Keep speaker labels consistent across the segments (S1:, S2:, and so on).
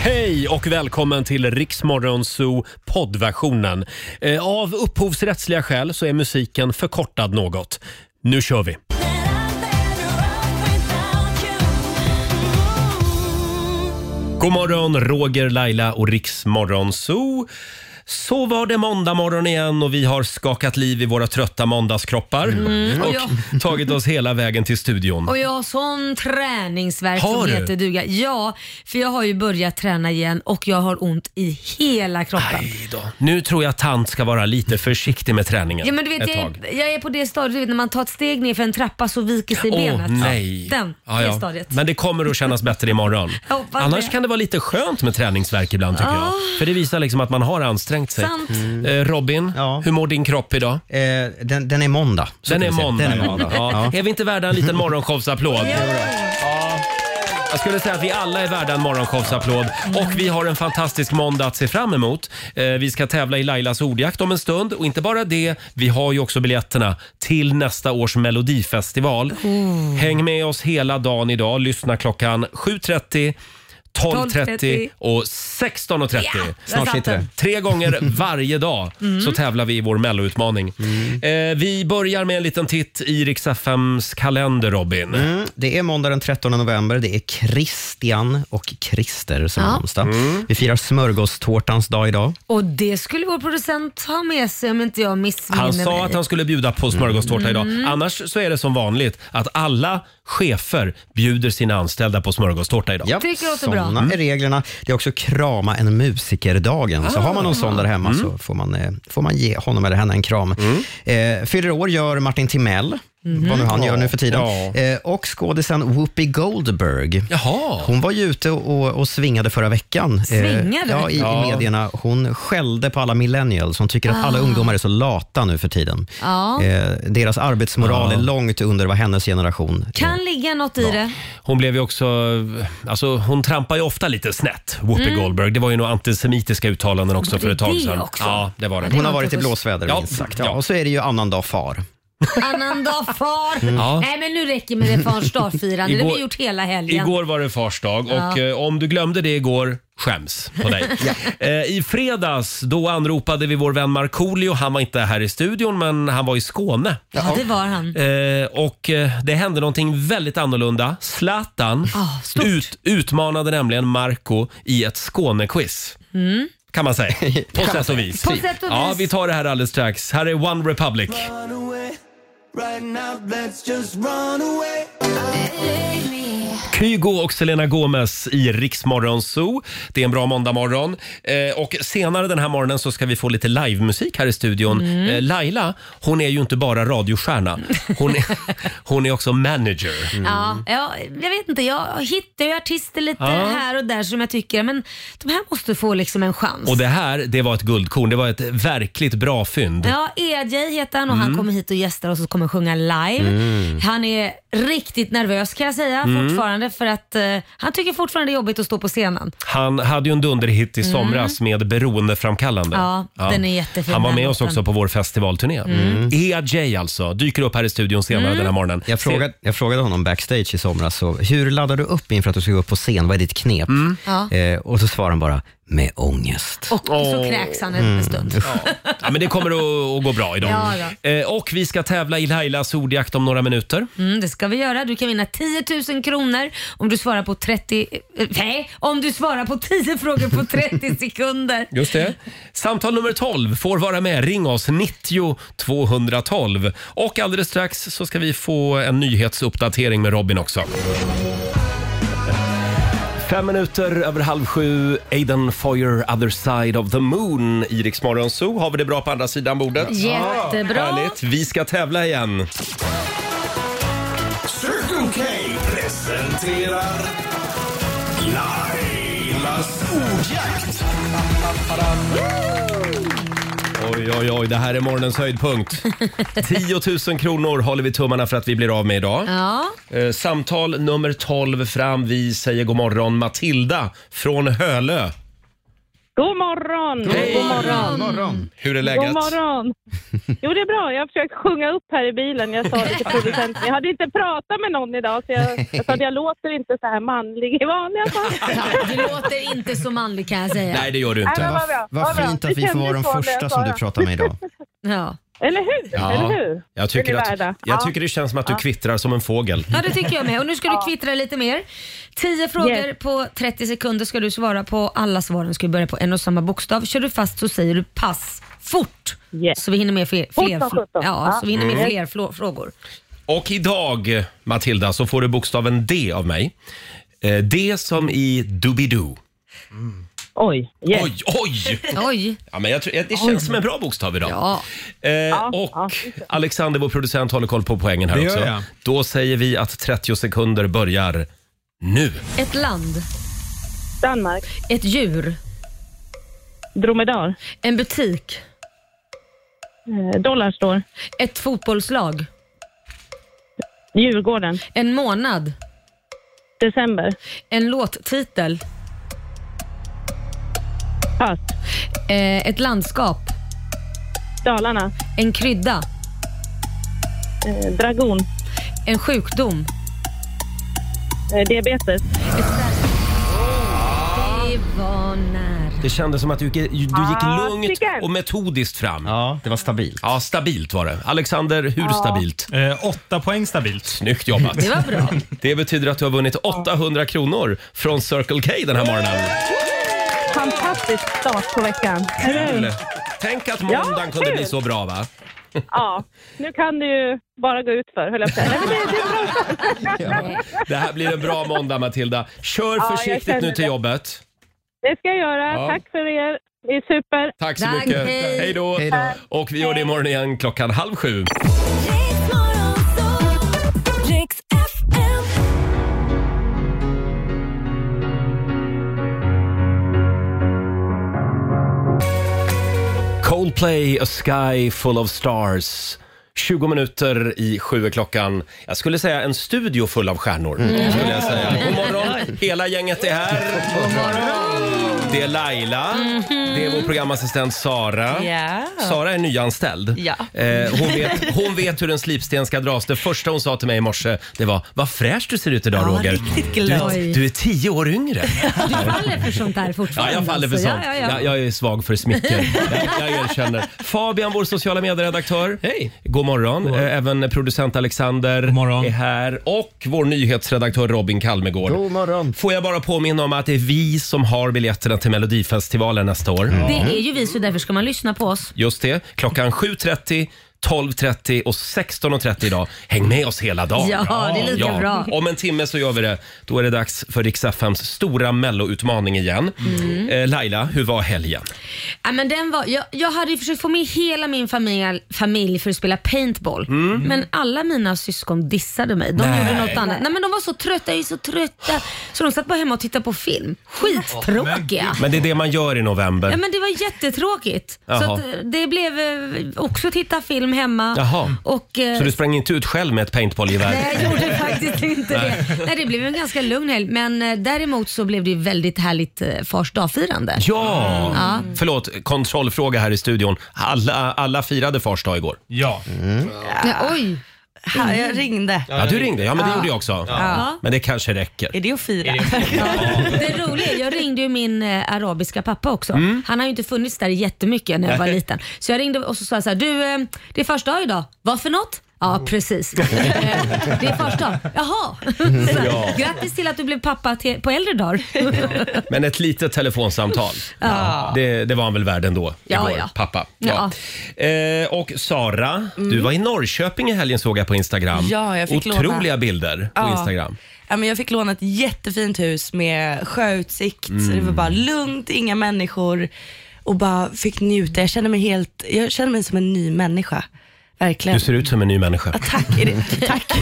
S1: Hej och välkommen till Riksmorgon Zoo poddversionen. Eh, Av upphovsrättsliga skäl så är musiken förkortad något. Nu kör vi! God morgon, Roger, Laila och Riksmorgon Zoo. Så var det måndag morgon igen och vi har skakat liv i våra trötta måndagskroppar Mm.
S2: och
S1: och
S2: jag-
S1: tagit oss hela vägen till studion.
S2: Och jag har sån träningsvärk
S1: Har
S2: som
S1: du?
S2: heter duga. Ja, för jag har ju börjat träna igen och jag har ont i hela kroppen.
S1: Aj då. Nu tror jag tant ska vara lite försiktig med träningen
S2: Ja, men du vet,
S1: ett
S2: jag,
S1: tag.
S2: är, jag är på det stadiet du vet, när man tar ett steg ner för en trappa så viker sig
S1: Åh
S2: benet.
S1: nej.
S2: Den,
S1: Ja,
S2: det
S1: ja.
S2: stadiet.
S1: Men det kommer att kännas bättre imorgon.
S2: Jag hoppas
S1: Annars
S2: det.
S1: kan det vara lite skönt med träningsvärk ibland tycker
S2: Ja.
S1: jag. För det visar liksom att man har ansträngt sig.
S2: Sant.
S1: Eh, Robin,
S3: Ja.
S1: hur mår din kropp idag?
S3: Eh, den, den är måndag. Så
S1: Den
S3: kan
S1: är
S3: vi säga.
S1: måndag.
S3: Den är måndag.
S1: Ja.
S3: Ja.
S1: Är vi inte värda en liten morgonshowsapplåd?
S2: Ja.
S1: Jag skulle säga att vi alla är värda en morgonshowsapplåd.
S2: Mm.
S1: Och vi har en fantastisk måndag att se fram emot. Eh, Vi ska tävla i Lailas ordjakt om en stund. Och inte bara det, vi har ju också biljetterna till nästa års melodifestival. Häng med oss hela dagen idag. Lyssna klockan 7.30, 12.30 och 16.30.
S2: Ja, där
S3: Snart
S2: satt
S3: sitter
S2: den. Mm.
S3: det.
S1: Tre gånger varje dag så tävlar vi i vår melloutmaning.
S3: Mm.
S1: Eh, vi börjar med en liten titt i Rix FMs kalender, Robin.
S3: Mm, det är måndag den 13 november. Det är Christian och Christer som
S2: Ja.
S3: har namnsdag.
S1: Mm.
S3: Vi firar smörgåstårtans dag idag.
S2: Och det skulle vår producent ha med sig om inte jag missminner
S1: Han
S2: mig.
S1: sa att han skulle bjuda på smörgåstårta
S2: Mm.
S1: idag. Annars så är det som vanligt att alla chefer bjuder sina anställda på smörgåstårta idag.
S3: Ja,
S2: Tycker låter bra. Mm.
S3: såna är reglerna. Det är också krama en musikerdagen. Så har man någon
S1: Ah.
S3: sån där hemma
S1: Mm.
S3: så får man, eh, får man ge honom eller henne en kram.
S1: Mm.
S3: Eh, fyller år gör Martin Timell, vad nu han gör nu för tiden.
S1: Mhm. Ja.
S3: Eh, och skådisen Whoopi Goldberg.
S1: Jaha.
S3: Hon var ju ute och, och svingade förra veckan. eh,
S2: Svingade?
S3: ja, i,
S1: Ja. Ah.
S3: i medierna. Hon skällde på alla millennials. Hon tycker att alla ungdomar är så lata nu för tiden.
S2: Ja.
S3: Eh, deras arbetsmoral är långt under vad hennes generation
S2: Kan ligga något i det.
S1: Hon blev ju också, alltså hon trampar ju ofta lite snett, Whoopi Goldberg. Det var ju några antisemitiska uttalanden också
S2: Var
S1: för
S2: det
S1: ett tag
S2: Mm. det
S1: sedan.
S2: också?
S1: Ja, det var det.
S3: Hon har
S2: var
S3: varit
S2: inte
S3: i
S2: schysst.
S3: blåsväder
S1: Ja,
S3: minst sagt. Ja.
S1: ja.
S3: Och så är det ju annandag far.
S2: Annandag far. Nej men nu räcker med det fars dag-firande. Det har
S1: Igår-
S2: vi gjort hela helgen.
S1: Igår var det fars dag och eh, om du glömde det igår, skäms på dig. eh, I fredags då anropade vi vår vän Markoolio. Han var inte här i studion men han var i Skåne.
S2: Ja det var han.
S1: Eh, och eh, det hände någonting väldigt annorlunda. Zlatan
S2: Ah, stort.
S1: ut, utmanade nämligen Marco i ett Skånequiz.
S2: Mm.
S1: Kan man säga. På sätt och vis.
S2: På sätt och
S1: Ja,
S2: vis.
S1: vi tar det här alldeles strax. Här är One Republic. Kygo och Selena Gomez i Riksmorgon Zoo. Det är en bra måndagmorgon. Eh, och senare den här morgonen så ska vi få lite livemusik här i studion.
S2: Mm.
S1: Eh, Laila, hon är ju inte bara radiostjärna. Hon är, hon är också manager.
S2: Ja, ja, jag vet inte, jag hittar ju artister lite
S1: Mm. Ja.
S2: här och där som jag tycker, men de här måste få liksom en chans.
S1: Och det här, det var ett guldkorn. Det var ett verkligt bra fynd.
S2: Ja, EJ heter han och
S1: Mm.
S2: han kommer hit och gästar oss och kommer sjunga live. Han är riktigt nervös kan jag säga
S1: Mm.
S2: fortfarande för att eh, han tycker fortfarande det är jobbigt att stå på scenen.
S1: Han hade ju en dunderhit i somras med beroendeframkallande.
S2: Mm. Ja, den är jättefin,
S1: Han var
S2: den
S1: med oss
S2: låten. Mm.
S1: också på vår festivalturné. EJ alltså, dyker upp här i studion senare den här morgonen.
S3: Jag frågade, jag frågade honom backstage i somras, så, hur laddar du upp inför att du ska gå upp på scen? Vad är ditt knep?
S1: Mm.
S2: Ja.
S3: Eh, och så svarade han bara, med ångest.
S2: Och så kräks han en stund.
S1: Mm. Ja, men det kommer att, att gå bra idag.
S2: Ja,
S1: Eh, och vi ska tävla i Lailas ordjakt om några minuter.
S2: Mm, det ska vi göra. Du kan vinna 10 000 kronor om du svarar på 30... eh, Nej, om du svarar på 10 frågor på 30 sekunder.
S1: Just det. Samtal nummer 12 får vara med. Ring oss 90 212. Och alldeles strax så ska vi få en nyhetsuppdatering med Robin också. Fem minuter över halv sju, Aiden Foyer, other side of the moon. I Rix Morgon Zoo har vi det bra på andra sidan bordet.
S2: Jättebra.
S1: Härligt. Vi ska tävla igen.
S4: Circle K presenterar Lailas ordjakt.
S1: Oj, oj, oj, det här är morgonens höjdpunkt. 10 000 kronor håller vi tummarna för att vi blir av med idag.
S2: Ja.
S1: Eh, Samtal nummer 12 fram. Vi säger god morgon Matilda från Hölö.
S5: God morgon!
S1: Hej!
S5: God morgon!
S3: morgon.
S1: Hur är
S5: God
S1: läget?
S5: morgon! Jo, det är bra. Jag har försökt sjunga upp här i bilen. Jag sa det till producenten. Jag hade inte pratat med någon idag, så jag, jag sa att jag låter inte så här manlig i vanliga fall.
S2: Du låter inte så manlig kan jag säga.
S1: Nej, det gör du
S5: Nej,
S1: inte.
S5: men
S3: Vad
S5: vad bra,
S3: vad
S5: vad bra.
S3: fint
S5: Det
S3: att vi får
S5: kändes
S3: vara
S5: så när jag
S3: de första
S5: sa
S3: som du
S5: det.
S3: pratar med idag.
S2: Ja.
S5: Eller hur? Eller hur?
S1: Jag tycker,
S5: Är ni
S1: att,
S5: värda?
S1: jag
S5: Ja.
S1: tycker det känns som att du kvittrar som en fågel.
S2: ja, det tycker jag med. Och nu ska du kvittra lite mer. 10 frågor
S5: Yes.
S2: på 30 sekunder ska du svara på. Alla svaren ska börja på en och samma bokstav. Kör du fast så säger du pass fort.
S5: Yes.
S2: Så vi hinner med fler,
S5: Fort
S2: fler,
S5: som
S2: fl-
S5: sjutton. Mm.
S2: ja,
S5: Ja.
S2: så vi hinner med fler flå- frågor.
S1: Och idag, Matilda, så får du bokstaven D av mig. Eh, D som i Doobidoo.
S5: Oj. Yes.
S1: Oj, oj!
S2: Oj.
S1: Ja, men jag tror, det känns som en bra bokstav idag.
S2: Ja.
S1: Eh, och
S5: ja.
S1: Alexander, vår producent, håller koll på poängen här
S3: Det gör
S1: också.
S3: jag.
S1: Då säger vi att 30 sekunder börjar nu.
S2: Ett land,
S5: Danmark.
S2: ett djur,
S5: Dromedar.
S2: en butik,
S5: Eh, Dollarstore.
S2: ett fotbollslag,
S5: Djurgården.
S2: en månad,
S5: December.
S2: en låttitel,
S5: Pass.
S2: eh, ett landskap,
S5: Dalarna.
S2: en krydda,
S5: Eh, Dragon.
S2: en sjukdom.
S5: Eh, diabetes.
S1: Ah.
S2: Det var nära.
S1: Det kändes som att du, gick- du gick
S5: Ah,
S1: lugnt
S5: tycker.
S1: och metodiskt fram. Ja.
S3: Ja, det var stabilt.
S1: stabilt var det. Alexander, hur stabilt?
S6: Eh, åtta poäng stabilt.
S1: Snyggt jobbat.
S2: Det var bra.
S1: Det betyder att du har vunnit 800 kronor från Circle K den här morgonen.
S5: Fantastisk start på veckan.
S1: Kul! Tänk att måndagen kunde
S5: kul.
S1: bli så bra va?
S5: Ja, nu kan det ju bara gå ut för höll jag på att säga. Nej, men det, det är bra.
S1: Det här blir en bra måndag Matilda. Kör
S5: jag
S1: försiktigt
S5: känner
S1: nu till
S5: det.
S1: jobbet.
S5: det ska jag göra.
S1: Ja.
S5: Tack för er. Ni är super.
S1: Tack så
S2: Tack,
S1: mycket.
S2: hej.
S1: Hej då.
S3: Hej då.
S1: Och vi gör det imorgon igen klockan halv sju.
S7: Riks FM.
S1: Coldplay, A Sky Full of Stars. 20 minuter i sju är klockan. Jag skulle säga en studio full av stjärnor. Skulle jag säga.
S2: Mm.
S4: Mm.
S1: God morgon, hela gänget är här. Det är Laila, det är vår programassistent Sara.
S8: Ja.
S2: Ah.
S1: Sara är nyanställd.
S8: Ja.
S1: Eh, hon, vet, hon vet hur en slipsten ska dras. Det första hon sa till mig i morse det var “Vad fräsch du ser ut idag
S8: Ja,
S1: Roger”.
S8: riktigt
S1: Du,
S8: glad.
S1: är- du är tio år yngre.
S2: Du faller för sånt där
S1: Ja,
S2: fortfarande.
S1: jag faller för
S2: alltså.
S1: sånt.
S2: Ja, ja, ja.
S1: Jag, jag är svag för smicker. Jag, jag erkänner. Fabian, vår sociala medieredaktör.
S6: Hej.
S1: God morgon. Eh, Även producent Alexander God
S6: morgon.
S1: är här. Och vår nyhetsredaktör Robin Kalmegård.
S3: God morgon.
S1: Får jag bara påminna om att det är vi som har biljetterna till Melodifestivalen nästa år.
S2: Det är ju vi, så därför ska man lyssna på oss.
S1: Just det. Klockan 7.30, 12.30 och 16.30 idag. Häng med oss hela dagen.
S2: Ja, det är lika bra.
S1: Om en timme så gör vi det. Då är det dags för Rix FMs stora melloutmaning igen.
S2: Mm.
S1: Eh, Laila, hur var helgen?
S2: Ja, men den var, jag, jag hade ju försökt få med hela min familj, familj för att spela paintball,
S1: Mm.
S2: men alla mina syskon dissade mig. De gjorde något annat. Nej, men de var så trötta, jag är så trötta. Så de satt bara hemma och tittade på film. Skittråkiga.
S1: Men det är det man gör i november.
S2: Ja, men det var jättetråkigt. Så
S1: Jaha.
S2: att, eh, det blev eh, också titta film hemma.
S1: Jaha.
S2: Och, eh,
S1: Så du sprang inte ut själv med ett paintballgevär?
S2: Nej, jag gjorde faktiskt inte det. Nej, det blev en ganska lugn helg. Men eh, däremot så blev det ju väldigt härligt eh, fars dag-firande.
S1: Ja! Förlåt, kontrollfråga här i studion. Alla, alla firade fars dag igår. Mm.
S6: Ja.
S2: Ja, oj!
S8: Här, jag ringde.
S1: Ja, du ringde. Ja, men det gjorde jag också.
S2: Ja.
S1: Men det kanske räcker.
S8: Är det att fira?
S2: Det roliga är, jag ringde ju min eh, arabiska pappa också.
S1: Mm.
S2: Han har ju inte funnits där jättemycket när jag var liten. Så jag ringde och så sa jag så här, du eh, det är första dag idag. Vad för något? Ja precis. Eh, det är första dag. Jaha. Så, här,
S1: Ja.
S2: Grattis till att du blev pappa till, på äldre dagar.
S1: Men ett litet telefonsamtal, det, det var han väl värd ändå?
S2: Ja,
S1: igår,
S2: ja.
S1: Pappa. Ja. Eh, och Sara, du var i Norrköping i helgen såg jag på Instagram.
S8: Mm. Ja, jag fick låna.
S1: Otroliga bilder på
S8: Ja.
S1: Instagram.
S8: Ja, men jag fick låna ett jättefint hus med sjöutsikt.
S1: Mm.
S8: Det var bara lugnt, inga människor och bara fick njuta. Jag kände mig, helt, jag kände mig som en ny människa. Verkligen.
S1: Du ser ut som en ny människa.
S8: Tack. Är det, tack.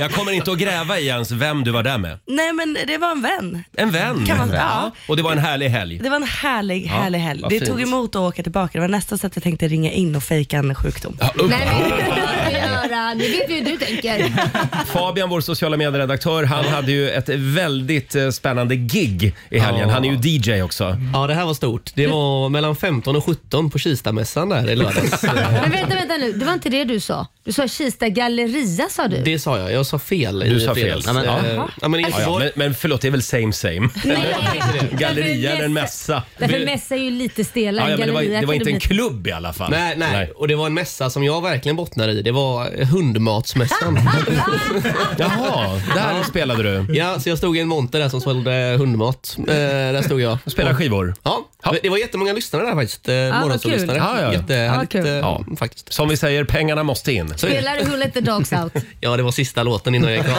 S1: Jag kommer inte att gräva i ens vem du var där med.
S8: Nej men det var en vän.
S1: En vän.
S8: Kan man- ja.
S1: Och det var en härlig helg.
S8: Det var en härlig, härlig helg.
S1: vad
S8: Det
S1: fint.
S8: tog emot att åka tillbaka. Det var nästan så att jag tänkte ringa in och fejka en sjukdom.
S2: Nej, men det får du göra. Det vet vi hur du tänker.
S1: Fabian, vår sociala medieredaktör, han hade ju ett väldigt eh, spännande gig i helgen.
S9: Ja.
S1: Han är ju DJ också.
S9: Ja, det här var stort. Det var mellan 15 och 17 på Kistamässan där i lördags.
S2: Men vänta, vänta nu. Det var inte det du sa. Du sa Kista Galleria sa du.
S9: Det sa jag. Jag sa fel. i
S1: Du sa
S9: fredags.
S1: fel. Ja, men-
S9: Eh,
S1: ja.
S9: ja, men i
S2: Alltså,
S1: Ja, ja.
S9: Göteborg.
S1: Men, men förlåt, det är väl same same? Galleria eller en mässa?
S2: Därför
S1: Vi-
S2: mässa är ju lite stelare.
S1: Ja, ja, men det var,
S2: Galleria
S1: det var
S2: kan
S1: inte en
S2: bli-
S1: klubb i alla fall.
S9: Nej, nej, Och det var en mässa som jag verkligen bottnar i. Det var eh, hundmatsmässan.
S1: Jaha, där spelade du.
S9: ja, så jag stod i en monter där som sålde hundmat. Eh, där stod jag.
S1: Spelade skivor.
S9: Ja, det var jättemånga lyssnare där faktiskt. Eh,
S2: vad
S9: Morgonsålyssnare.
S1: kul. Ja, ja, ja.
S9: Jättehärligt
S2: Ja, kul.
S9: eh,
S1: Ja.
S9: faktiskt.
S1: Som vi säger, pengarna måste in.
S2: Spelar du Who Let The Dogs Out?
S9: Ja, det var sista låten innan jag gick av.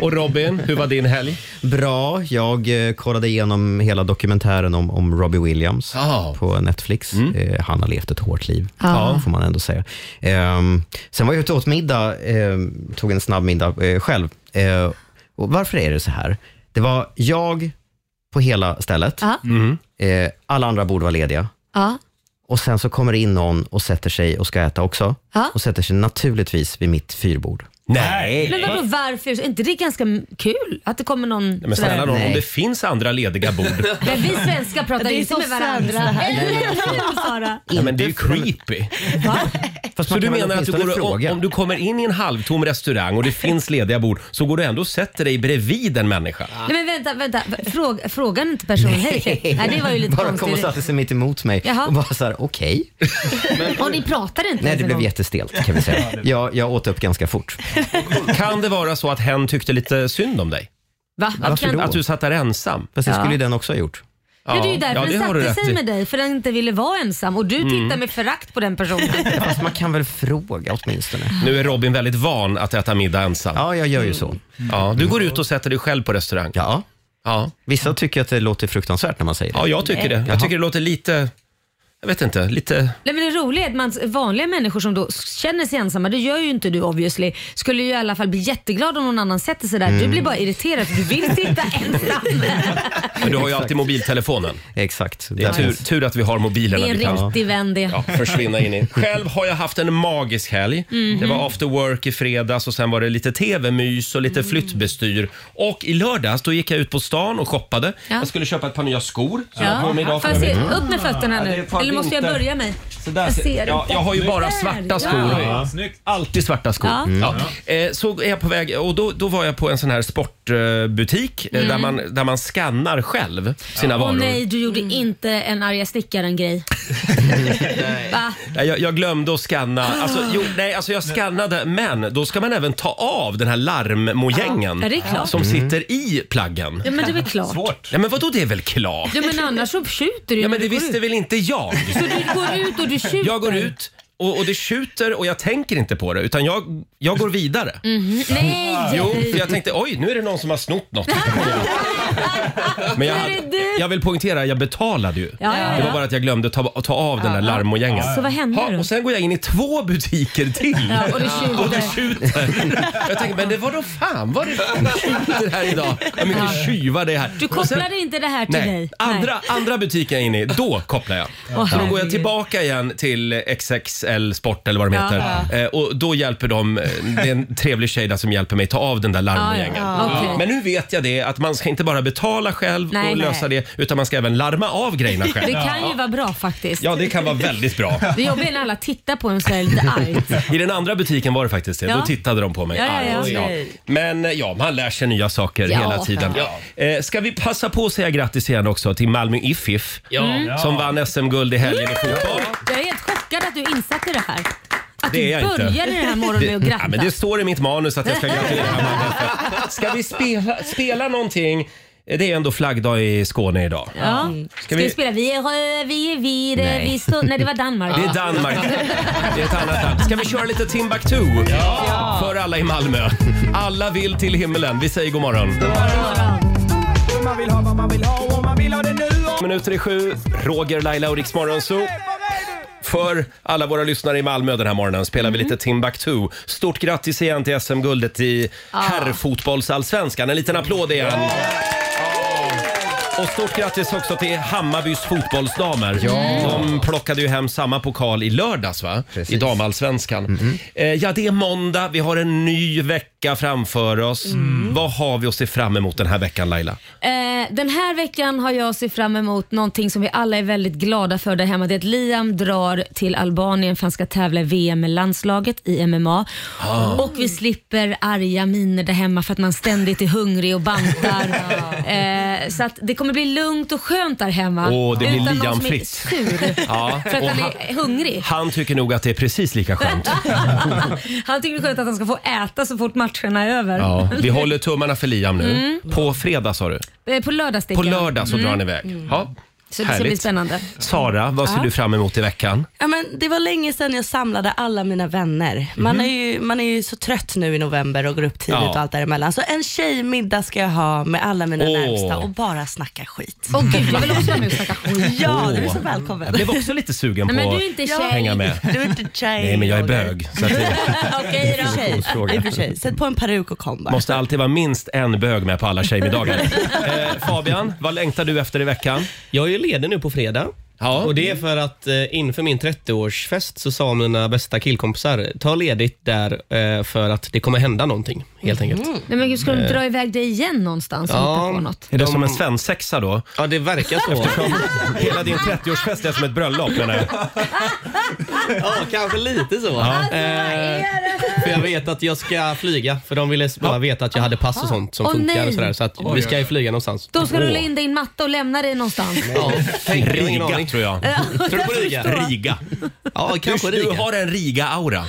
S1: Och Robin, hur var din helg?
S3: Bra. Jag eh, kollade igenom hela dokumentären om, om Robbie Williams
S1: Ja. Mm.
S3: på Netflix. Eh, han har levt ett hårt liv,
S2: Ja.
S3: får man ändå säga. Ehm, sen var jag ute och åt middag, ehm, tog en snabb middag eh, själv. Eh, och varför är det så här? Det var jag på hela stället.
S2: Ja.
S1: Mm.
S3: Eh, alla andra bord var lediga.
S2: Ja.
S3: Och Sen så kommer det in någon och sätter sig och ska äta också.
S2: Ja.
S3: Och sätter sig naturligtvis vid mitt fyrbord.
S1: Nej.
S2: Men vadå varför? Är inte det ganska kul att det kommer någon
S1: Men snälla nån, om
S3: Nej.
S1: det finns andra lediga bord.
S2: Men vi svenskar pratar
S8: Det är
S2: inte
S8: så
S2: med varandra.
S8: sant det
S2: Eller hur Sara?
S1: Nej, men det är ju
S3: Inte förrän-
S1: creepy.
S3: Fast
S1: Så
S3: man
S1: du
S3: kan väl
S1: menar att du
S3: åtminstone
S1: går, om,
S3: fråga.
S1: om du kommer in i en halvtom restaurang och det finns lediga bord så går du ändå och sätter dig bredvid en människa?
S2: Nej men vänta, vänta. Fråga, frågan inte personen. Hej, hej. Nej det var ju lite
S3: bara kom och
S2: konstigt.
S3: satte sig mitt emot mig
S2: Jaha.
S3: och bara så här, okej.
S2: Och ni pratade
S3: Nej,
S2: inte ens
S3: det
S2: en
S3: blev
S2: gång.
S3: jättestelt kan vi säga. Jag, jag åt upp ganska fort.
S1: Kan det vara så att hen tyckte lite synd om dig?
S2: Va?
S3: Varför
S2: Kan-
S3: då?
S1: Att du satt där ensam?
S3: Fast det skulle ju den också ha gjort.
S2: Nej, det är ju därför den
S1: har du
S2: satte
S1: rätt
S2: sig
S1: i. Mm.
S2: med dig, för den inte ville vara ensam. Och du tittar med förakt på den personen.
S3: Fast man kan väl fråga åtminstone.
S1: Nu är Robin väldigt van att äta middag ensam. Ja.
S3: Ja, jag gör ju så.
S1: du går ut och sätter dig själv på restaurang.
S3: Ja.
S1: Ja,
S3: Vissa tycker att det låter fruktansvärt när man säger det.
S1: ja jag tycker det. Jag tycker det låter lite... Jag vet inte, lite...
S2: Nej, men det roliga är att man, vanliga människor som då känner sig ensamma, det gör ju inte du obviously, skulle ju i alla fall bli jätteglad om någon annan sätter sig där. Du blir
S1: Mm.
S2: bara irriterad för du vill sitta ensam.
S1: Men du har ju alltid mobiltelefonen.
S3: Exakt.
S1: Det är
S3: Där
S1: tur,
S3: finns-
S1: tur att vi har mobilerna.
S2: Det är
S1: vi kan-
S2: en riktig vän det.
S1: Ja, försvinna in i. Själv har jag haft en magisk helg.
S2: Mhm.
S1: Det var after work i fredags och sen var det lite tv-mys och
S2: Mm.
S1: lite flyttbestyr. Och i lördags då gick jag ut på stan och shoppade.
S2: Ja.
S1: Jag skulle köpa ett par nya skor. som jag har på mig
S2: Ja.
S1: idag.
S2: Får jag se, upp med fötterna
S1: Ja, det är
S2: nu.
S1: fan
S2: Eller måste jag
S1: vinter.
S2: börja mig?
S1: Så där
S2: Jag
S1: ser-
S2: ser
S1: ja,
S2: inte.
S1: jag har ju bara
S2: Där,
S1: svarta
S2: ja.
S1: skor.
S6: Ja, snyggt.
S1: Alltid svarta skor.
S2: Ja.
S1: Ja. Eh, Så är jag på väg och då, då var jag på en sån här sportbutik eh, där, man, där man skannar själv sina
S2: Mm. Åh
S1: varor.
S2: nej, du gjorde inte en arga snickaren-grej. Va?
S1: Nej, Jag, jag glömde att scanna. Alltså, jo, nej, alltså jag skannade, men då ska man även ta av den här larmmojängen
S2: Ja, det är klart. Mm.
S1: som sitter i plaggen.
S2: Ja, men det är väl klart.
S1: Ja, men vadå, det är väl klart?
S2: Ja, men annars så tjuter du
S1: Ja,
S2: när
S1: men det
S2: du går
S1: visste
S2: ut.
S1: väl inte jag?
S2: Så du går ut och du tjuter?
S1: Jag går ut och, och det tjuter och jag tänker inte på det, utan jag, jag går vidare.
S2: Mhm. Nej!
S1: Jo, för jag tänkte oj, nu är det någon som har snott något. Men jag,
S2: Är det du?
S1: jag vill poängtera, jag betalade ju.
S2: Ja, ja,
S1: Det var
S2: ja.
S1: bara att jag glömde ta, ta av den där larmmojängen.
S2: Så vad hände
S1: Ha,
S2: då?
S1: och sen går jag in i två butiker till.
S2: Ja, och det tjuter.
S1: Och det tjuter. Jag tänker, men det var då fan var det tjuter här idag? Hur mycket tjuvar det är här.
S2: Du
S1: Och sen-
S2: kopplade inte det här till
S1: Nej,
S2: dig?
S1: andra, andra butiken jag är inne i, då kopplar jag.
S2: Åh,
S1: så då går jag
S2: herregud.
S1: tillbaka igen till XXL Sport eller vad de
S2: Ja.
S1: heter. Eh, och då hjälper de, eh, det är en trevlig tjej där som hjälper mig ta av den där larmgängen.
S2: Ja, ja. Okej.
S1: Men nu vet jag det att man ska inte bara betala själv
S2: Nej,
S1: och
S2: nej.
S1: lösa det utan man ska även larma av grejerna
S2: Nej. Det
S1: själv.
S2: kan ju vara bra faktiskt.
S1: Ja, det kan vara väldigt bra.
S2: Det jobbiga är när alla tittar på en så är det lite argt.
S1: I den andra butiken var det faktiskt det. Då
S2: Ja.
S1: tittade de på mig
S2: Ja, ja, ja.
S1: argt.
S8: Nej.
S1: Men eh, ja, man lär sig nya saker
S2: Ja.
S1: hela tiden. Eh, ska vi passa på att säga grattis igen också till Malmö IFIF
S9: Ja.
S2: Mm.
S1: som vann SM-guld i helgen i fotboll.
S2: Jag är helt chockad att du är insatt i det här. Att
S1: Det är jag
S2: du
S1: inte.
S2: började den här morgonen med att
S1: Ja,
S2: gratta.
S1: men det står i mitt manus att jag ska gratulera Malmö IFIF. Ska vi spela, spela någonting? Eh, Det är ändå flaggdag i Skåne idag.
S2: Ja.
S1: Mm.
S2: Ska vi
S1: vi-
S2: spela Vi är rö- vi är vid,
S3: Nej.
S2: vi står... Nej, det var Danmark.
S1: Det är Danmark. Det är ett annat land. Ska vi köra lite Timbuktu? För alla i Malmö. Alla vill till himmelen. Vi säger god morgon.
S4: Man vill ha vad man vill ha och man vill ha det nu.
S1: Minuter i sju, Roger, Laila och Riksmorgon Zoo. För alla våra lyssnare i Malmö den här morgonen spelar vi lite Timbuktu. Stort grattis igen till SM-guldet i herrfotbollsallsvenskan. En liten applåd igen. Och stort grattis också till Hammarbys fotbollsdamer. De plockade ju hem samma pokal i lördags va? I damallsvenskan. Eh, ja, det är måndag. Vi har en ny vecka framför oss. Vad har vi att se fram emot den här veckan Laila?
S2: Eh, den här veckan har jag sett fram emot någonting som vi alla är väldigt glada för där hemma. Det är att Liam drar till Albanien för han ska tävla i VM med landslaget i MMA.
S1: Ah.
S2: Och vi slipper arga miner där hemma för att man ständigt är hungrig och bantar. eh, så att det kommer bli lugnt och skönt där hemma.
S1: Åh, det blir
S2: Utan någon som är
S1: Liam-fritt.
S2: sur
S1: Ja,
S2: för
S1: och
S2: att han
S1: han,
S2: är hungrig.
S1: han tycker nog att det är precis lika skönt.
S2: Han tycker det är skönt att han ska få äta så fort matcherna är över.
S1: Ja, vi håller tummarna för Liam nu.
S2: Mm.
S1: På fredag sa du?
S2: Eh, På lördag sticker
S1: På
S2: han.
S1: lördag så drar han iväg. Ja,
S2: Mm. Så det ska bli
S1: härligt.
S2: spännande.
S1: Sara, vad ser
S8: Ja.
S1: du fram emot i veckan?
S8: Ja, men det var länge sedan jag samlade alla mina vänner. Man, är ju, man är ju så trött nu i november och går upp tidigt
S1: Mhm. Ja.
S8: och allt däremellan. Så en tjejmiddag ska jag ha med alla mina
S1: Åh.
S8: närmsta och bara snacka skit.
S2: Åh gud, jag vill också vara med och snacka skit.
S8: Ja,
S1: Åh.
S8: du är så välkommen.
S1: Jag blev också lite sugen
S2: Nej,
S1: på
S2: men du är inte
S1: att
S2: tjej.
S1: hänga med.
S8: Du är inte tjej.
S1: Nej, men jag är
S8: Roger.
S1: bög. Så att det
S2: Okej då.
S8: I och för sig. Sätt på en peruk och kom bara.
S1: måste alltid vara minst en bög med på alla tjejmiddagar. Eh, Fabian, vad längtar du efter i veckan?
S9: Jag är ju ledig nu på fredag.
S1: Ja.
S9: Och det är för att eh, inför min 30-årsfest så sa mina bästa killkompisar, ta ledigt där eh, för att det kommer hända någonting helt enkelt. Eh.
S2: Nej men gud, ska de dra iväg dig igen någonstans och
S9: Ja.
S2: hitta på något?
S1: Är det som en svensexa då?
S9: Ja, det verkar så.
S1: Hela din 30-årsfest är som ett bröllop menar jag.
S9: ja, kanske lite så.
S2: Alltså,
S9: Eh, för jag vet att jag ska flyga, för de ville bara veta att jag hade pass och sånt som
S2: Åh,
S9: funkar.
S2: nej.
S9: Och sådär, så att vi ska ju flyga någonstans.
S2: De ska rulla in dig i en matta och lämna dig någonstans.
S9: Ja, tänk, jag har ingen
S1: Riga
S9: aning.
S1: tror jag.
S2: Eh,
S9: Tror du på Riga?
S1: Riga.
S9: Ja, kanske
S1: Du, du
S9: Riga.
S1: har en Riga-aura.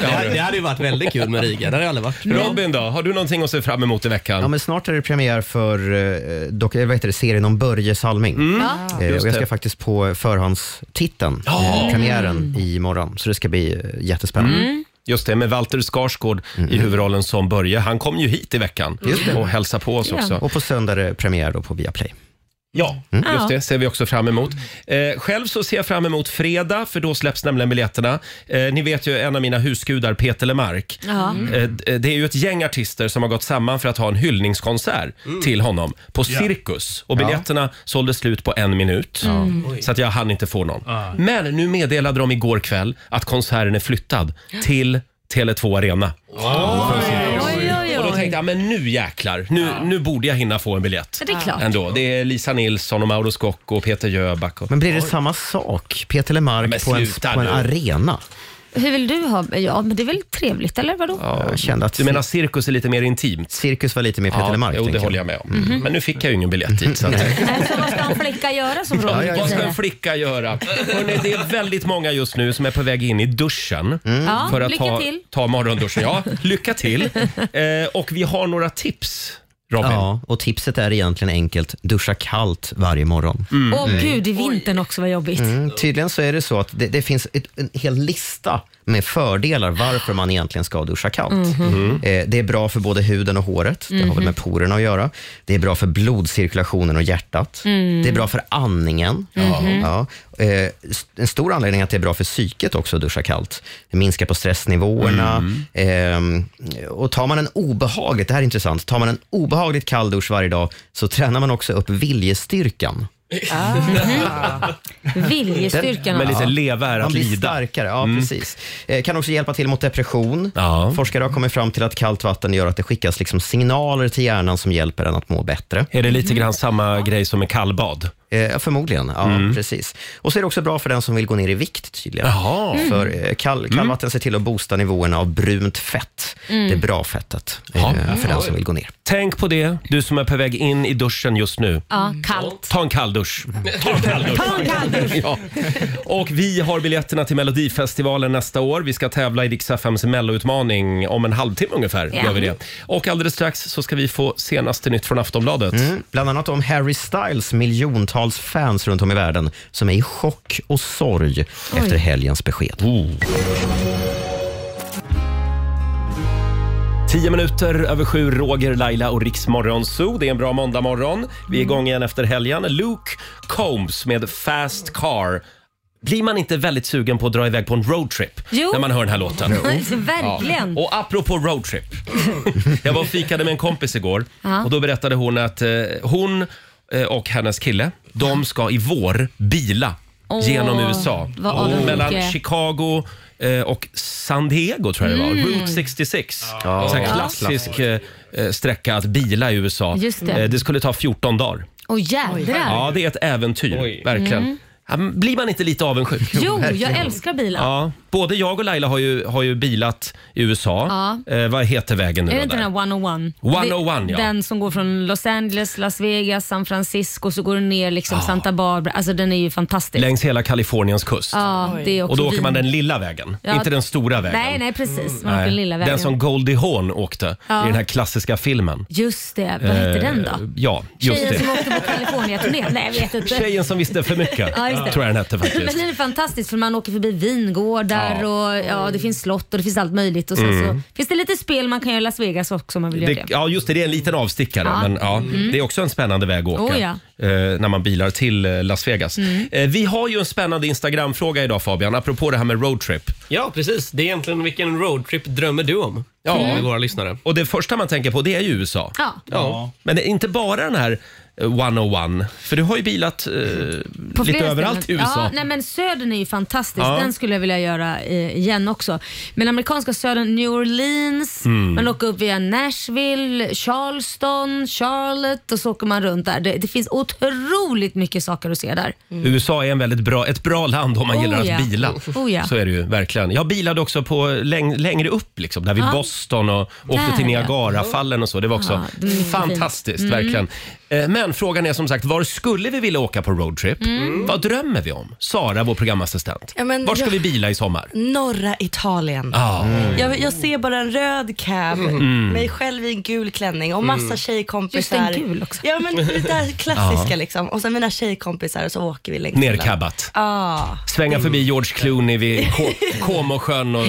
S9: Det, hade, det hade ju varit väldigt kul med Riga. Det hade jag aldrig varit.
S1: Robin då, har du någonting att se fram emot i veckan?
S3: Ja, men snart är det premiär för eh, dok- eh, vad heter det, serien om Börje Salming.
S2: Mm. Ja.
S3: Eh,
S1: Just
S3: och jag
S1: det.
S3: ska faktiskt på förhandstiteln,
S1: Mm.
S3: eh, premiären, imorgon. Så det ska bli eh, jättespännande. Mm.
S1: Just det, med Walter Skarsgård i huvudrollen som Börje. Han kom ju hit i veckan och hälsade på oss
S2: Ja.
S1: också.
S3: Och på söndag är det premiär då på Viaplay. Mm.
S1: Ja, just det ser vi också fram emot. Eh, själv så ser jag fram emot fredag, för då släpps nämligen biljetterna. Eh, ni vet ju en av mina husgudar, Peter Lemark.
S2: Ja. Mm.
S1: Eh, d- Det är ju ett gäng artister som har gått samman för att ha en hyllningskonsert
S3: Mm.
S1: till honom på Cirkus. Och biljetterna sålde slut på en minut.
S2: Mm.
S1: Så att jag hann inte få någon. Men nu meddelade de igår kväll att konserten är flyttad till Tele2 Arena.
S2: Oj, oj,
S1: Och då
S2: oj.
S1: tänkte jag, men nu jäklar. Nu, nu borde jag hinna få en biljett.
S2: Ja, det är klart.
S1: Ändå. Det är Lisa Nilsson och Mauro Scocco och Peter Jöback. Och...
S3: Men blir det samma sak? Peter
S1: Men
S3: Lemark på en,
S1: sluta
S3: på en
S1: nu.
S3: arena?
S2: Hur vill du ha Ja men det är väl trevligt eller vadå?
S3: Jag kände att
S1: Du menar cirkus är lite mer intimt?
S3: cirkus var lite mer Peter Lemark.
S1: jo, det
S3: tänker Mhm.
S1: håller jag med om. Men nu fick jag ju ingen biljett dit. Så att...
S2: Nej, så vad ska en flicka göra som Robin brukar
S1: Vad ska en
S2: säga?
S1: flicka göra? Hörrni, det är väldigt många just nu som är på väg in i duschen.
S2: Mm. Ja,
S1: För att
S2: lycka
S1: ta,
S2: till.
S1: ta morgonduschen. Ja, lycka till. Eh, och vi har några tips, Robin.
S3: Ja, och tipset är egentligen enkelt. Duscha kallt varje morgon.
S9: Mm.
S2: Åh gud, i vintern också vad jobbigt.
S3: Mm, Tydligen så är det så att det, det finns ett, en hel lista med fördelar varför man egentligen ska duscha kallt. Eh, det är bra för både huden och håret. Det har väl med porerna att göra. Det är bra för blodcirkulationen och hjärtat. Det är bra för andningen. Ja. Eh, s- en stor anledning att det är bra för psyket också att duscha kallt. Det minskar på stressnivåerna. Eh, och tar man en obehagligt, det här är intressant, tar man en obehagligt kall dusch varje dag så tränar man också upp viljestyrkan.
S2: Viljestyrkan
S1: Med
S2: också.
S1: lite leva är
S3: Man
S1: att
S3: blir
S1: lida. Mm.
S3: starkare, ja precis. Eh, kan också hjälpa till mot depression.
S1: Ja.
S3: Forskare har kommit fram till att kallt vatten gör att det skickas liksom signaler till hjärnan som hjälper den att må bättre.
S1: Är det lite grann samma grej som med kallbad? Mm.
S3: Eh, förmodligen, ja precis. Och så är det också bra för den som vill gå ner i vikt tydligen.
S1: Jaha.
S3: För eh, kall,
S1: Mm.
S3: kallvatten ser till att boosta nivåerna av brunt fett.
S2: Mm.
S3: Det är bra fettet
S1: Ja.
S3: eh, för den som vill gå ner.
S1: Tänk på det, du som är på väg in i duschen just nu.
S2: Ja,
S9: Mm.
S2: kallt.
S1: Ta en kalldusch. Ta en kalldusch.
S2: Ta en kalldusch.
S1: Ja. Och vi har biljetterna till Melodifestivalen nästa år. Vi ska tävla i Dix FMs melloutmaning om en halvtimme ungefär.
S2: Ja.
S1: Gör vi det. Och alldeles strax så ska vi få senaste nytt från Aftonbladet.
S3: Mm. Bland annat om Harry Styles miljontals fans runt om i världen som är i chock och sorg efter helgens besked.
S1: Oh. Tio minuter över sju, Roger, Laila och Riksmorgon Zoo. Det är en bra måndagmorgon. Vi är igång igen efter helgen. Luke Combs med Fast Car. Blir man inte väldigt sugen på att dra iväg på en roadtrip
S2: Jo.
S1: när man hör den här låten?
S2: Verkligen.
S1: Och apropå roadtrip. Jag var och fikade med en kompis igår
S2: Ja.
S1: och då berättade hon att eh, hon eh, och hennes kille, de ska i vår bila
S2: Åh,
S1: genom USA.
S2: vad avundsjuk jag
S1: Mellan
S2: är.
S1: Chicago eh, och San Diego tror jag det var.
S2: Mm.
S1: Route 66. En sån här
S3: Ja.
S1: klassisk eh, eh, sträcka att bila i USA.
S2: Just det.
S1: Eh, det skulle ta 14 dagar.
S2: Och jädrar.
S1: Ja, det är ett äventyr.
S9: Oj.
S1: Verkligen. Ja, men Blir man inte lite avundsjuk?
S2: Mm. Jo, jag älskar bilar.
S1: Ja, både jag och Laila har ju, har ju bilat i USA.
S2: Ja.
S1: Eh, vad heter vägen nu
S2: Är
S1: då
S2: det inte
S1: där?
S2: den här 101?
S1: 101,
S2: Det-
S1: ja.
S2: Den som går från Los Angeles, Las Vegas, San Francisco, så går den ner
S1: Ah.
S2: liksom Santa Barbara. Alltså den är ju fantastisk.
S1: Längs hela Kaliforniens kust.
S2: ja, det är också
S1: Och då åker
S2: vin.
S1: man den lilla vägen,
S2: Ja.
S1: inte den stora vägen. Mm.
S2: Nej, nej precis. Man
S1: Nej.
S2: åker den lilla vägen.
S1: Den som Goldie Hawn åkte
S2: Ja.
S1: i den här klassiska filmen.
S2: Just det, vad hette den
S1: Eh,
S2: då?
S1: Ja, just
S2: Tjejen
S1: det.
S2: som åkte på California-turné? Nej, jag vet inte.
S1: Tjejen som visste för mycket,
S2: Ja, just det.
S1: tror jag den hette
S2: Men
S1: faktiskt.
S2: den är fantastisk för man åker förbi
S1: Ja.
S2: vingårdar
S1: Mm.
S2: och ja, det finns slott och det finns allt möjligt. Och sen så finns det lite spel man kan göra i Las Vegas också om man vill göra
S1: Det,
S2: det.
S1: ja, just det. Det är en liten avstickare.
S2: Ja. Mm.
S1: Men, ja, Det är också en spännande väg att åka
S2: Oh, ja. Mm.
S1: eh, när man bilar till eh, Las Vegas. Eh, vi har ju en spännande Instagram-fråga idag Fabian, apropå det här med roadtrip.
S9: Ja, precis. Det är egentligen vilken roadtrip drömmer du om? Ja, med våra lyssnare.
S1: Och det första man tänker på det är ju USA.
S2: Mm. Ja,
S9: Ja.
S1: Men det är inte bara den här eh, 101, för du har ju bilat eh,
S2: på
S1: lite
S2: flera
S1: överallt i
S2: ställen.
S1: USA.
S2: Ja, nej, men södern är ju fantastisk.
S1: Ja.
S2: Den skulle jag vilja göra eh, igen också. Men amerikanska södern, New Orleans,
S1: Mm.
S2: man åker upp via Nashville, Charleston, Charlotte och så åker man runt där. Det, det finns otroligt mycket saker att se där.
S9: Mm.
S1: USA är en väldigt bra, ett bra land om man
S2: Mm. Oh,
S1: gillar
S2: ja.
S1: att bila.
S2: Oh, ja.
S1: Så är det ju verkligen. Jag bilade också på läng, längre upp, liksom, där vid
S2: Ja.
S1: Boston och åkte
S2: Där,
S1: till
S2: ja.
S1: Niagarafallen och så. Det var också
S2: Ja, det är Mm. mycket
S1: fantastiskt, verkligen. Eh, Men frågan är som sagt, var skulle vi vilja åka på roadtrip?
S2: Mm.
S1: Mm. Vad drömmer vi om? Sara, vår programassistent.
S8: Ja, men
S1: var ska
S8: jag-
S1: vi bila i sommar?
S8: Norra Italien. Mm.
S1: Ah. Mm.
S8: Jag, jag ser bara en röd cab, mig själv i en gul klänning och massa
S2: Just
S8: tjejkompisar.
S2: en gul också.
S8: Ja men det där klassiska liksom. Och sen mina tjejkompisar och så åker vi längs hela-
S1: Nercabbat.
S8: Ja.
S1: Svänga förbi George Clooney vid Ko- Comosjön och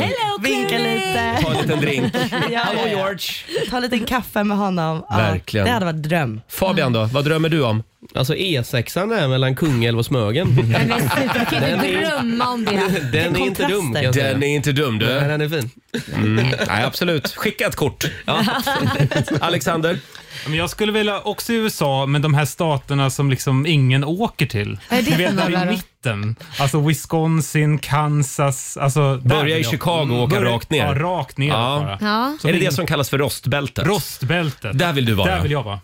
S8: Vinka lite.
S1: ta en liten drink.
S8: Ja,
S1: Hallå
S8: ja, ja.
S1: George!
S8: Ta en liten kaffe med honom. Ja,
S1: Verkligen.
S8: Det hade varit dröm.
S1: Fabian då, vad drömmer du om?
S9: Alltså E6 där mellan Kungälv och Smögen.
S2: Men sluta, du kan ju inte
S9: Den är-
S2: drömma om det.
S9: Den är inte
S8: kontraster.
S9: dum kan jag säga.
S1: Den är inte dum du.
S9: Nej, den är fin.
S1: Mm. Nej, absolut. Skicka ett kort. Alexander?
S6: Men jag skulle vilja också i USA, men de här staterna som liksom ingen åker till.
S2: Vad är det
S6: Ni
S2: för
S6: vet där
S2: några
S6: i
S2: då?
S6: mitten. Alltså Wisconsin, Kansas. Alltså, där
S1: Börja
S6: vill
S1: i
S6: jag- Mm,
S1: Chicago och åka
S6: Börja-
S1: rakt ner.
S6: Ja, rakt ner
S1: Ja.
S6: bara.
S2: Ja.
S1: är det det som kallas för rostbältet?
S6: Rostbältet.
S1: Där vill du vara.
S6: Där vill jag vara.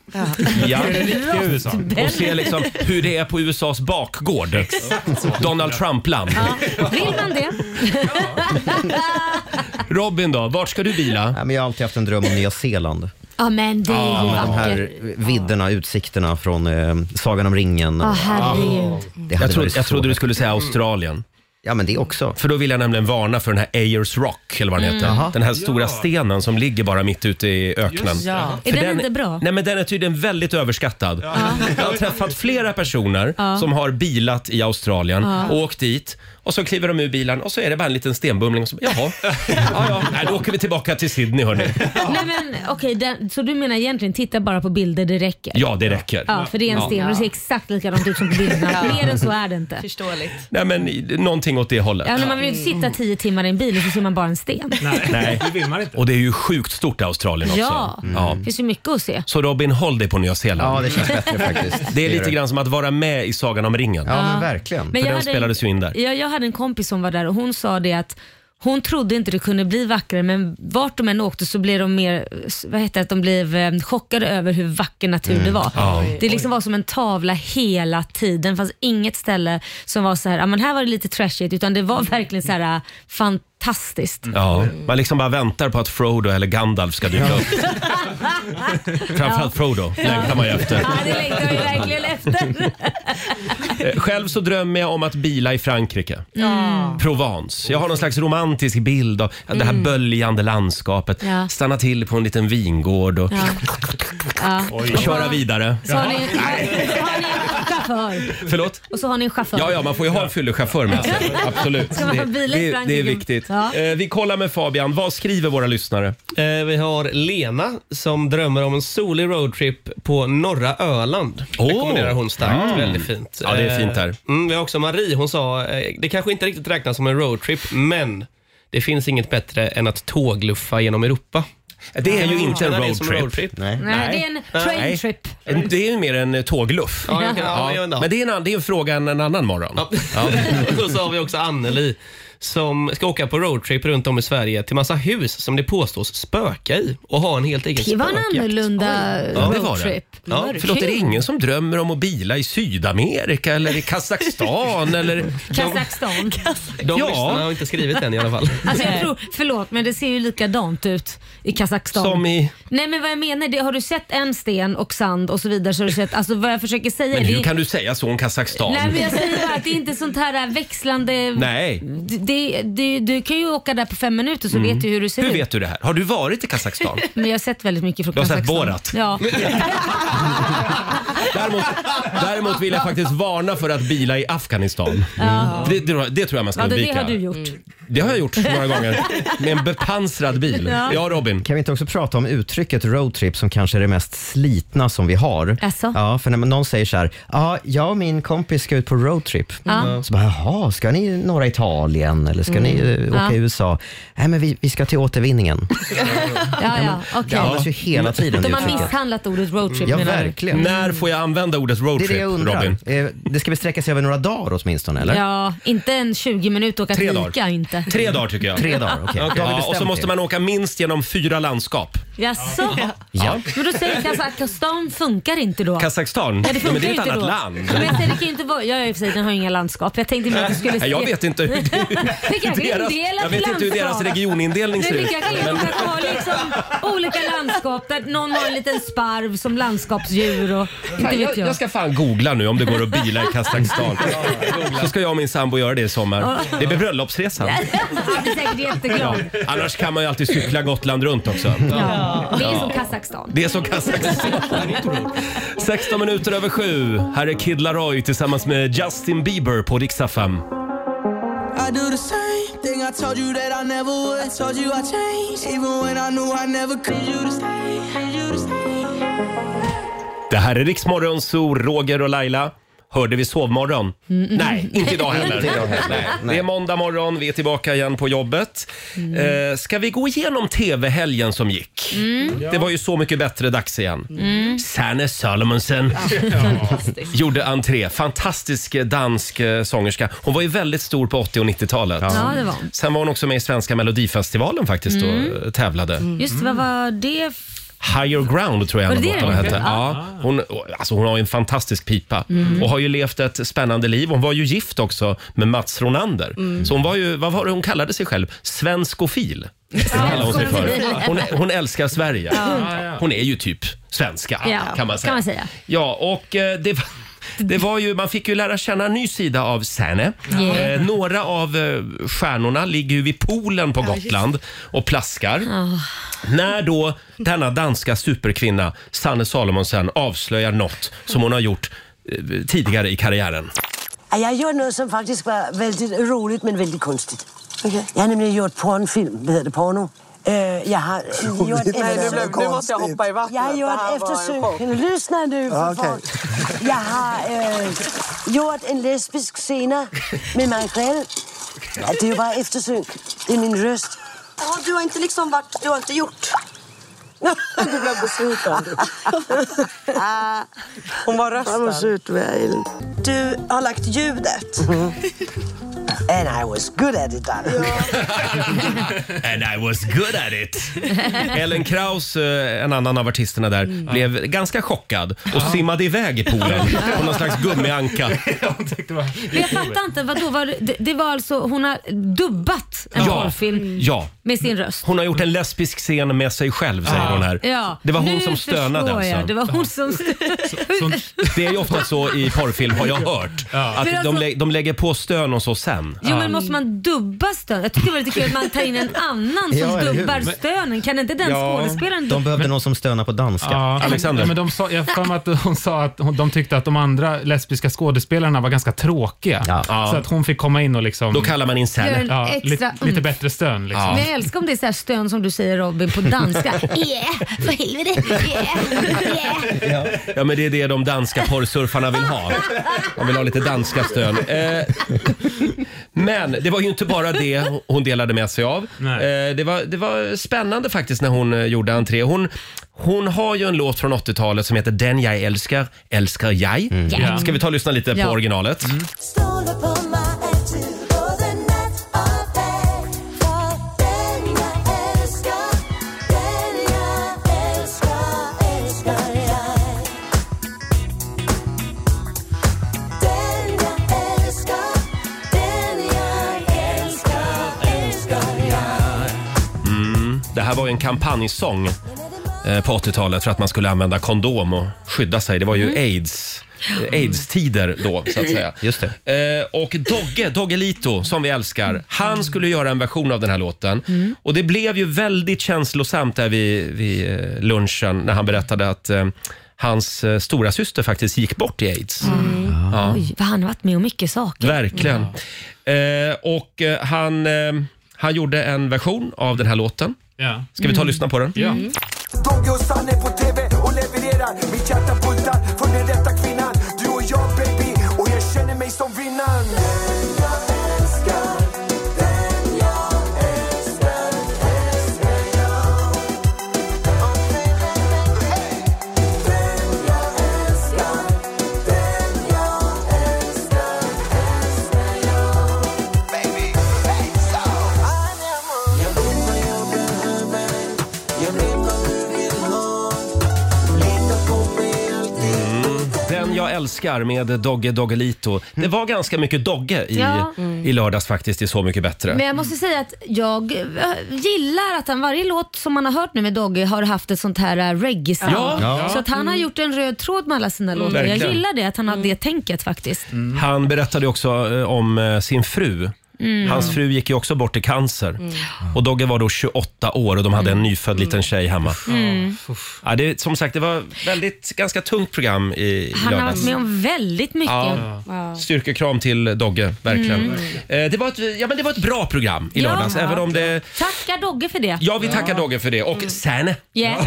S1: Ja.
S6: Det är riktiga USA.
S1: Och se liksom hur det är på USAs bakgård. Donald Trump-land.
S2: Vill man det?
S1: Robin då, vart ska du bila?
S3: Nej, men jag har alltid haft en dröm om Nya Zeeland. Ah.
S2: Ja men det är ju
S3: De här
S2: vackert.
S3: vidderna, utsikterna från eh, Sagan om ringen.
S9: Ah,
S3: Ah.
S2: Ja herregud.
S3: Det hade
S1: Jag, trodde-
S3: varit
S1: jag
S3: så
S1: trodde du
S3: häftigt.
S1: skulle säga Australien.
S3: Ja, men det också. Mm.
S1: För då vill jag nämligen varna för den här Ayers Rock, eller vad den heter. Den här stora
S6: Ja.
S1: stenen som ligger bara mitt ute i öknen.
S8: Ja.
S2: Är
S1: För
S2: den, inte bra?
S1: Nej, men den är tydligen väldigt överskattad. Jag har träffat flera personer som har bilat i Australien och åkt dit och så kliver de ur bilen och så är det bara en liten stenbumling och så, jaha, ja, ja. Nej, då åker vi tillbaka till Sydney hörni.
S2: Nej men okej, den, så du menar egentligen titta bara på bilder, det räcker?
S1: Ja, det räcker.
S2: Ja, för det är en sten och det ser exakt likadant ut som på bilderna. Mer än så är det inte.
S8: Förståeligt.
S1: Nej, men någonting åt det hållet.
S2: Ja, men man vill ju inte sitta tio timmar i en bil och så ser man bara en sten.
S1: Nej.
S6: Det vill man inte.
S1: Och det är ju sjukt stort Australien också.
S2: Ja,
S1: Ja.
S2: det
S3: Mm.
S2: finns ju mycket att se.
S1: Så Robin, håll dig på Nya Zeeland.
S3: Ja, det känns bättre faktiskt.
S1: det är
S3: gör
S1: lite grann som att vara med i Sagan om ringen.
S3: Ja, men verkligen.
S2: Men
S1: För den spelades ju in där.
S2: Jag, jag hade en kompis som var där och hon sa det att hon trodde inte det kunde bli vackrare men vart de än åkte så blev de mer vad heter det, att de blev eh, chockade över hur vacker natur det var.
S1: Mm. Ja.
S2: Det liksom var som en tavla hela tiden. Det fanns inget ställe som var så här, "Ah, men här var det lite trashigt utan det var verkligen så här eh, fantastiskt.
S1: Ja, man liksom bara väntar på att Frodo eller Gandalf ska dyka upp. Framförallt Frodo längtar man ju efter.
S2: Ja, det längtar jag ju verkligen efter.
S1: Eh, Själv så drömmer jag om att bila i Frankrike. Provence. Jag har någon slags romantisk bild av det här böljande landskapet.
S2: Mm. Ja.
S1: Stanna till på en liten vingård och
S2: Ja. Ja.
S1: köra vidare.
S2: Så har ni, har, har ni en chaufför.
S1: Förlåt?
S2: Och så har ni en chaufför.
S1: Ja, ja, man får ju ha en fyllegchaufför med sig. Absolut.
S2: Ska man ha
S1: Det,
S2: bil i
S1: det, det är
S2: Frankrike?
S1: viktigt.
S2: Ja.
S1: Eh, Vi kollar med Fabian. Vad skriver våra lyssnare?
S9: Eh, vi har Lena som drömmer om en solig roadtrip på norra Öland.
S1: Åh.
S9: Rekommenderar hon starkt.
S1: Mm.
S9: Väldigt fint.
S1: Ja, det är fint där.
S9: Eh, Mm, vi har också Marie. Hon sa, eh, det kanske inte riktigt räknas som en roadtrip, men det finns inget bättre än att tågluffa genom Europa.
S1: Det är ju inte en
S9: Känner det som
S1: roadtrip.
S3: Nej.
S2: Nej, det är en train
S1: Nej.
S2: trip.
S1: En- Det är ju mer en eh, tågluff.
S9: Ja, jag kan, ja. men jag undrar.
S1: Men det är en, annan- det är en fråga en, en annan morgon.
S9: Ja. och så har vi också Anneli som ska åka på roadtrip runt om i Sverige till massa hus som det påstås spöka i och ha en helt egen
S2: Det var en
S9: spökjakt.
S2: annorlunda
S1: Ja, det var det.
S2: roadtrip.
S9: Ja,
S1: Förlåt, är det
S2: Kul.
S1: ingen som drömmer om att bila i Sydamerika eller i Kazakstan eller...
S2: Kazakstan.
S9: De
S1: Ja.
S9: lyssnarna har inte skrivit den i alla fall.
S2: Alltså jag tror, förlåt men det ser ju likadant ut i Kazakstan.
S1: Som i...
S2: Nej men vad jag menar, det, har du sett en sten och sand och så vidare så har du sett, alltså vad jag försöker säga
S1: Men hur
S2: det,
S1: kan du säga så om Kazakstan?
S2: Nej men jag säger bara att det är inte sånt här växlande...
S1: Nej.
S2: Det, det, det, du kan ju åka där på fem minuter så vet du hur du ser
S1: Mm. Hur
S2: ut.
S1: vet du det här? Har du varit i Kazakstan?
S2: Men jag har sett väldigt mycket från
S1: Du har sett
S2: Kazakstan.
S1: Borat?
S2: Ja.
S1: Däremot, däremot vill jag faktiskt varna för att bila i Afghanistan. Mm. Det, det, det tror jag man ska
S2: ja, det, det
S1: undvika.
S2: har du gjort.
S1: Det har jag gjort några gånger. Med en bepansrad bil. Ja,
S2: Ja.
S1: Robin.
S3: Kan vi inte också prata om uttrycket roadtrip som kanske är det mest slitna som vi har?
S2: Jaså?
S3: Ja, för när man- någon säger så här, ja, jag och min kompis ska ut på roadtrip. Så bara, jaha, ska ni norra Italien eller ska ni eh, åka
S2: Mm. Ja.
S3: i USA? Nej, men vi, vi ska till återvinningen.
S2: Ja, ja,
S3: Det
S2: okej. Mm.
S3: används ju hela tiden det
S2: De har
S3: uttrycket.
S2: misshandlat ordet roadtrip
S3: Ja,
S2: menar du?
S3: verkligen.
S1: När får jag använda ordet
S3: Det är
S1: roadtrip,
S3: det jag undrar.
S1: Robin?
S3: Eh, Det ska väl sträcka sig över några dagar åtminstone, eller?
S2: Ja, inte en 20 minuter åka
S1: Tre
S2: till
S1: dagar.
S2: Ica inte.
S1: Tre dagar tycker jag.
S3: Tre dagar, okej. Då har vi
S1: Ja, och så
S3: bestämt
S1: måste
S3: det.
S1: man åka minst genom fyra landskap.
S2: Jaså?
S1: Ja.
S2: Men då säger Kazakstan funkar inte då?
S1: Kazakstan?
S2: Ja, det
S1: men
S2: funkar
S1: det är
S2: ju
S1: ett
S2: inte
S1: annat
S2: då.
S1: land.
S2: Men jag säger, det kan ju inte vara, jag är i och för sig, den har ju inga landskap. Jag tänkte mer att du skulle
S1: Nej, jag vet inte hur
S2: Det kanske är
S1: deras,
S2: indelat
S1: jag vet inte hur deras
S2: landskap.
S1: regionindelning
S2: Nej,
S1: ser
S2: det
S1: ut.
S2: kanske är att man har liksom olika landskap där någon har en liten sparv som landskapsdjur och inte
S1: Fan,
S2: vet
S1: jag,
S2: jag.
S1: jag ska fan googla nu om det går att bila i Kazakstan. Så ska jag och min sambo göra det i sommar. Det är bröllopsresan.
S2: Han blir säkert
S1: Ja.
S2: jätteglad.
S1: Annars kan man ju alltid cykla Gotland runt också.
S2: Ja. Det är som Kazakstan.
S1: Det är som Kazakstan. 16 minuter över sju. Här är Kid Laroi tillsammans med Justin Bieber på riksdag 5.
S4: I do the same thing I told you that I never would. I told you I changed, even when I knew I never could. Need you to stay, need you to stay.
S1: Det här är Riksmorgon, så Roger och Laila. Hörde vi sovmorgon?
S4: Mm.
S1: Nej, inte idag heller. Nej. Det är måndag morgon, vi är tillbaka igen på jobbet. Eh, ska vi gå igenom tv-helgen som gick? Det var ju Så mycket bättre dags igen.
S2: Mm.
S1: Sanne Salomonsen gjorde entré. Fantastisk dansk eh, sångerska. Hon var ju väldigt stor på 80 och 90-talet.
S2: Ja, det var hon. Mm.
S1: Sen var hon också med i svenska melodifestivalen faktiskt och eh, tävlade.
S2: Just det, vad var det? f-
S1: Higher Ground tror jag
S2: Var
S1: en av
S2: det Ah. det
S1: låtarna
S2: den
S1: hette.
S2: hette?
S1: Ja, hon, alltså hon har ju en fantastisk pipa
S2: Mm.
S1: och har ju levt ett spännande liv. Hon var ju gift också med Mats Ronander.
S2: Mm.
S1: Så hon var ju, vad var det hon kallade sig själv? Svenskofil. Det kallar hon, sig för. Hon, hon älskar Sverige. Hon är ju typ svenska
S2: Ja,
S1: kan, man säga.
S2: kan man säga.
S1: Ja, och eh, det var, det var ju, man fick ju lära känna en ny sida av Sane.
S2: Yeah.
S1: Eh, några av eh, stjärnorna ligger ju vid poolen på Gotland och plaskar. När då denna danska superkvinna, Sanne Salomonsen, avslöjar något som hon har gjort eh, tidigare i karriären.
S10: Ja, Jeg gjorde noget, som faktisk var vældig roligt, men vældig kunstigt. Okay. Jeg har nemlig gjort pornofilm, hvad hedder det, porno. Øh, jeg har gjort... Nej, nu, blev, nu måste jeg hoppe i vattnet. Jeg har gjort eftersøg. Lyssna nu, for
S7: Ah,
S10: Okay. okay. Jeg har øh, gjort en lesbisk scener med Michael. Ja, det er jo bare eftersynk. Det er min røst.
S7: Du har inte liksom varit, du har inte gjort.
S10: Du blev besviken.
S7: Ah. Hon var
S10: Han var
S7: rösten.
S10: sødt, Ellen.
S7: Du har lagt ljudet.
S10: And I was good at it, darling.
S1: And I was good at it. Ellen Kraus, eh, en annan av artisterna där, blev ganska chockad och simmade iväg i poolen på någon slags gummianka.
S2: Men Jag fattar inte, vadå? Var det- det, det var alltså, hon har dubbat en
S1: Ja.
S2: porrfilm
S1: Ja,
S2: med sin röst.
S1: hon har gjort en lesbisk scen med sig själv säger hon här.
S2: Ja,
S1: Det var hon
S2: nu
S1: som stönade
S2: förstår jag.
S1: alltså.
S2: Det var hon som stönade.
S1: Det är ju ofta så i porrfilm har jag hört. Att
S2: Men
S1: de,
S2: alltså-
S1: lä- de lägger på stön och så sen. igen.
S2: Jo men måste man dubba stön? Jag tycker det var lite kul att man tar in en annan som
S3: Ja, eller hur?
S2: dubbar
S3: Men-
S2: stönen. Kan inte den skådespelaren
S3: De behövde någon som stönar på danska.
S6: Ja, Ja, men de sa, jag har för mig att hon sa att hon, de tyckte att de andra lesbiska skådespelarna var ganska tråkiga. Så att hon fick komma in och liksom...
S1: Då kallar man in
S2: Gör en
S6: Ja, li-
S2: extra
S6: lite
S2: umf.
S6: bättre stön liksom.
S2: Men jag älskar om det är så här stön som du säger Robin på danska. Yeah, för helvete. Yeah, yeah.
S1: Ja. men det är det de danska porrsurfarna vill ha. De vill ha lite danska stön. Eh, men det var ju inte bara det hon delade med sig av. Eh, det, var, det var spännande faktiskt när hon eh, gjorde entré. Hon, hon har ju en låt från 80-talet som heter Den jag älskar, älskar jag.
S11: Ja.
S1: Ska vi ta och lyssna lite
S11: Ja.
S1: på originalet?
S2: Mm.
S1: Mm. Det här var ju en kampanjsång eh, på 80-talet för att man skulle använda kondom och skydda sig. Det var ju
S11: Mm.
S1: aids. eh, AIDS-tider då, så att säga. Just det. Eh, och Dogge, Dogge Lito, som vi älskar, han skulle göra en version av den här låten.
S11: Mm.
S1: Och det blev ju väldigt känslosamt där vid, vid eh, lunchen när han berättade att eh, hans eh, stora syster faktiskt gick bort i aids.
S11: Mm.
S1: Ja.
S2: Oj, vad han har varit med om mycket saker. Mm.
S1: Verkligen. Eh, och eh, han, eh, han gjorde en version av den här låten.
S6: Ja.
S1: Ska
S12: Mm.
S1: vi ta och lyssna på den? Mm.
S12: Dogge och Sanne på TV och levererar Mitt hjärta bultar för den rätta kvinnan Du och jag baby och jag känner mig som vinnaren Den jag älskar, den jag älskar, älskar jag Den jag älskar, den jag älskar, älskar jag Baby, hey, so Jag vet vad jag behöver, jag vet vad du vill ha Lita på mig
S1: Den jag älskar med Dogge Doggelito. Det var ganska mycket Dogge i,
S2: Ja. Mm.
S1: i lördags faktiskt i Så mycket bättre.
S2: Men jag måste säga att jag eh, gillar att han varje låt som man har hört nu med Dogge har haft ett sånt här eh, reggae sound.
S1: Ja. Ja.
S2: Så att han har gjort en röd tråd med alla sina låtar. Jag
S1: Verkligen. Mm.
S2: gillar det, att han har det tänket faktiskt.
S6: Mm.
S1: Han berättade också eh, om eh, sin fru.
S2: Mm.
S1: Hans fru gick ju också bort i cancer.
S2: Mm.
S1: Och Dogge var då 28 år och de hade en nyfödd liten tjej hemma.
S2: Mm.
S1: Ja, det, som sagt, det var väldigt ganska tungt program i, i
S2: Han har
S1: lördags.
S2: varit med om väldigt mycket.
S1: Ja. Styrkekram till Dogge, verkligen.
S2: Mm.
S1: Eh, det, var ett, ja, men det var ett bra program i
S2: Ja.
S1: lördags, även om det...
S2: Tacka Dogge för det.
S1: Ja, vi tackar Dogge för det. Och
S2: Mm.
S1: Sanne.
S2: Yeah.